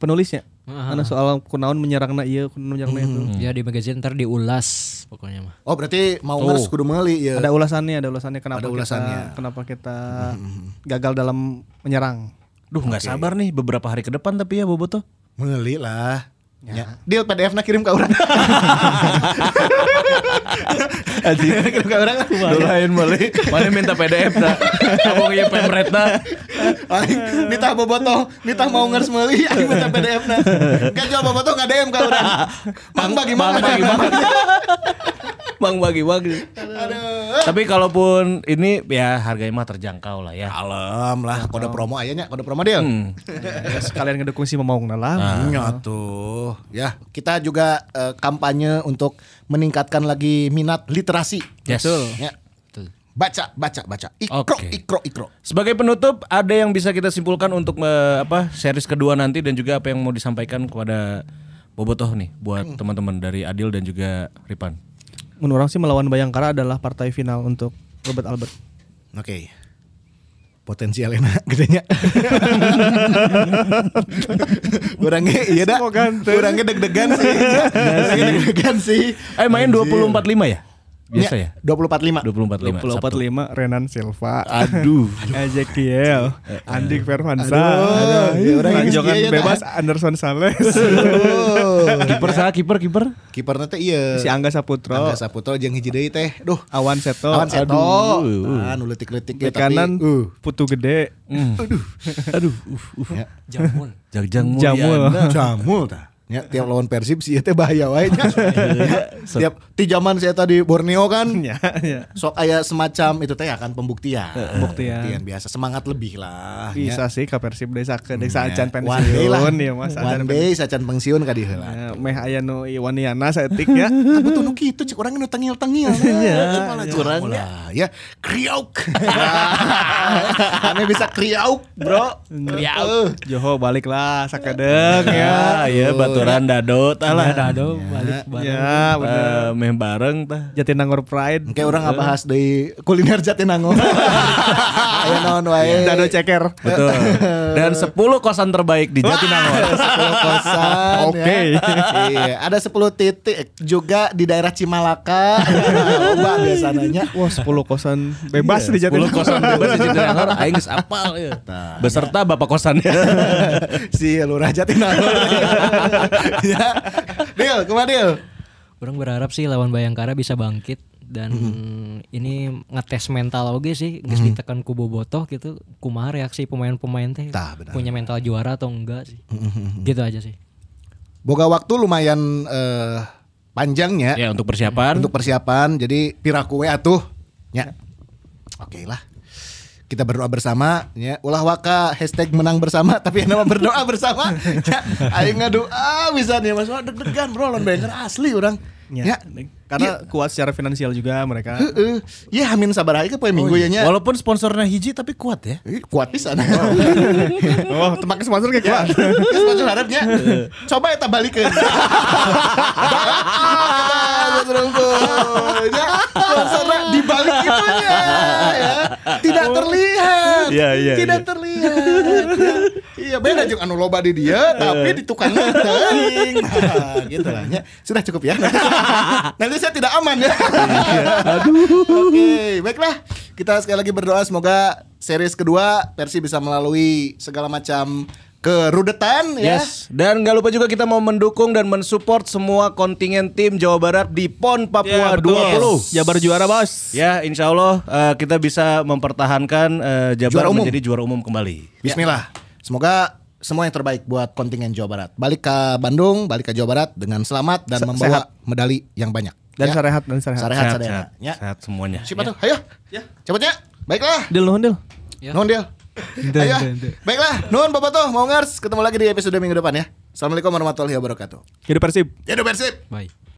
D: penulisnya karena soal kunaon menyerangna iya kunaon menyerangna itu
E: ya di magazine ntar diulas pokoknya mah
C: Oh berarti mau ngers kudu meuli ya.
D: ada ulasannya ada ulasannya kenapa
C: Ada
D: kita
C: ulasannya.
D: kenapa kita gagal dalam menyerang
B: Duh, nggak sabar nih beberapa hari ke depan tapi ya Boboto.
C: Meli lah. Ya. Deal PDF na kirim ke orang. [LAUGHS]
B: [LAUGHS]
C: kirim ke orang.
B: Lain balik. Mana minta PDF dah. Kamu kayak pemretna.
C: Aing nitah bobotoh, nitah mau ngers meuli aing minta PDF na. Enggak jawab bobotoh enggak DM ke
B: [LAUGHS]
C: orang. Mang bagaimana?
B: Mang bagi bagi. Mang bagi bagi.
C: Aduh.
B: Tapi kalaupun ini ya harganya mah terjangkau lah ya.
C: Alam lah kode promo ayahnya, kode promo deal.
B: Hmm.
C: [LAUGHS]
D: sekalian ngedukung si mamaung lah
B: Nah.
C: Iya tuh. Ya, kita juga eh, kampanye untuk meningkatkan lagi minat literasi.
B: Yes.
C: Ya. Baca, baca, baca. Ikro,
B: Oke.
C: ikro, ikro.
B: Sebagai penutup, ada yang bisa kita simpulkan untuk eh, apa series kedua nanti dan juga apa yang mau disampaikan kepada Bobotoh nih buat
D: Hmm.
B: teman-teman dari Adil dan juga Ripan.
D: menurut orang sih melawan Bayangkara adalah partai final untuk Robert Albert
C: Oke. Potensi Elena [LAUGHS] gedenya. Orangnya iya dah. Orangnya deg-degan
D: Iya
C: sih. Orangnya deg-degan sih.
B: Eh main 2045 ya? Biasa ya?
D: Ah.
B: 2045.
C: 24.5.
D: 24 lima Renan Silva [LAUGHS]
B: Aduh.
D: Ezekiel
C: Eh, Aduh,
D: Andik Firmansyah
C: ya orang yang
D: Tanjongan
C: iya, iya,
D: bebas Anderson Sales
B: kiper saya kiper kiper.
C: Kipernya teh iya.
D: si Oh. Angga Saputra
C: Angga Saputra jeung hiji deui teh. Duh.
D: Awan Seto
C: Lawan Seto.
B: aduh.
C: Nah, nu leutik-leutik
D: Oh, di
C: ya, tapi-
D: kanan
C: Uh.
D: Putu Gede
B: Aduh. Aduh. Uh, uh.
E: jamul
B: Jagjang
D: Ya. Jamul
B: Mulyana.
C: Jamul tah. Ya, tiap lawan Persib sih teh bahaya wae
D: [LAUGHS]
C: nya. Ya, Tiap ti zaman saya tadi Borneo kan
D: ya ya
C: sok aya semacam itu teh akan pembuktian.
D: pembuktian.
C: biasa semangat lebih lah. ya.
D: bisa sih ke Persib desa ke desa acan
C: One day Iya. lah.
D: pensiun Iya. ya mas
C: One
D: acan
C: day sacan pensiun ka dieu lah.
D: pensiun. meh aya nu Iwaniana saeutik
C: [LAUGHS]
D: ya
C: Betul nu kitu cek urang nu
D: [LAUGHS]
C: tengil-tengil. Iya, urang lah ya kriauk. Ane bisa kriauk, Bro. Kriauk.
D: Joho balik lah sakadeng [LAUGHS]
B: Ya,
D: ya
B: ya baturan dado tah lah.
C: Oh,
E: Aduh, balik bareng.
D: ya bener
B: Eh, meh bareng tah.
D: Jatinangor Pride
C: Kayak orang ngebahas dari kuliner Jatinangor. Ayo naon wae.
D: Dado Ya, ceker [LAUGHS]
B: Betul. Dan 10 kosan terbaik di Jatinangor.
C: 10 kosan
D: Oke.
C: ya. Iya, ada 10 titik juga di daerah Cimalaka. Loba biasanya.
D: wah 10 kosan
C: Iya,
D: bebas di
B: 10
D: Jatinangor [LAUGHS]
B: kosan bebas di Jatinangor aing geus apal ya. Beserta bapak [LAUGHS] kosannya.
C: si Lurah Jatinangor. [LAUGHS] ya. Deal, kemana Deal?
E: Orang berharap sih lawan Bayangkara bisa bangkit dan
C: Hmm.
E: ini ngetes mental oge sih geus ditekan ku bobotoh gitu kumaha reaksi pemain-pemain teh
C: Tah, benar. Hmm.
E: punya mental juara atau enggak sih gitu aja sih
C: Boga waktu lumayan eh, panjangnya
B: ya untuk persiapan.
C: Ya. untuk persiapan. Jadi piraku we atuh. Ya. Oke lah. kita berdoa bersama ya ulah waka hashtag menang bersama tapi nama berdoa bersama ya aing ngadoa bisa nih mas wah deg-degan bro lawan Bayangkara asli orang ya,
D: Karena kuat secara finansial juga mereka.
C: Heeh. ya hamin sabar aja ke poe minggu ya nya
B: Walaupun sponsornya hiji tapi kuat ya.
C: Ih, kuat pisan
B: [LAUGHS]
C: Iya,
D: oh, tempat sponsor kayak kuat.
C: Terus maju harapnya Coba kita
B: [LAUGHS]
C: balikin Suasana Iya. dibalik itunya ya. Tidak terlihat
B: Iya, iya,
C: Tidak terlihat ya. Iya beda juga anu loba di dia
D: Iya.
C: Tapi di tukang teuing. Nah, Gitu lah ya. Sudah cukup
D: [LAUGHS]
C: ya Nanti saya tidak aman ya
D: Iya.
C: Aduh Oke baiklah Kita sekali lagi berdoa semoga series kedua Persi bisa melalui segala macam kerudetan ya.
B: Yes. Iya. Dan nggak lupa juga kita mau mendukung dan mensupport semua kontingen tim Jawa Barat di PON Papua 20.
D: Jabar juara, Bos.
B: Ya, insya Allah eh, kita bisa mempertahankan eh, Jabar
C: Juara umum.
B: menjadi juara umum kembali.
C: Bismillah. Semoga semua yang terbaik buat kontingen Jawa Barat. Balik ke Bandung, balik ke Jawa Barat dengan selamat dan
D: Se-
C: membawa
D: sehat.
C: medali yang banyak. Ya.
D: Dan sarehat dan sarehat.
C: Sarehat,
B: Sehat,
C: sarehat.
B: sehat,
C: Ya.
B: sehat semuanya.
C: Siapa tuh? Ayo. Ya. Cepet ya. Baiklah.
D: Dil nuhun, Dil.
E: Ya.
C: Nuhun dia. Ayo. Baiklah. Nuhun Bapak tuh mau ngers. Ketemu lagi di episode minggu depan ya. Assalamualaikum warahmatullahi wabarakatuh.
D: Hidup Persib.
C: Hidup Persib.
E: Bye.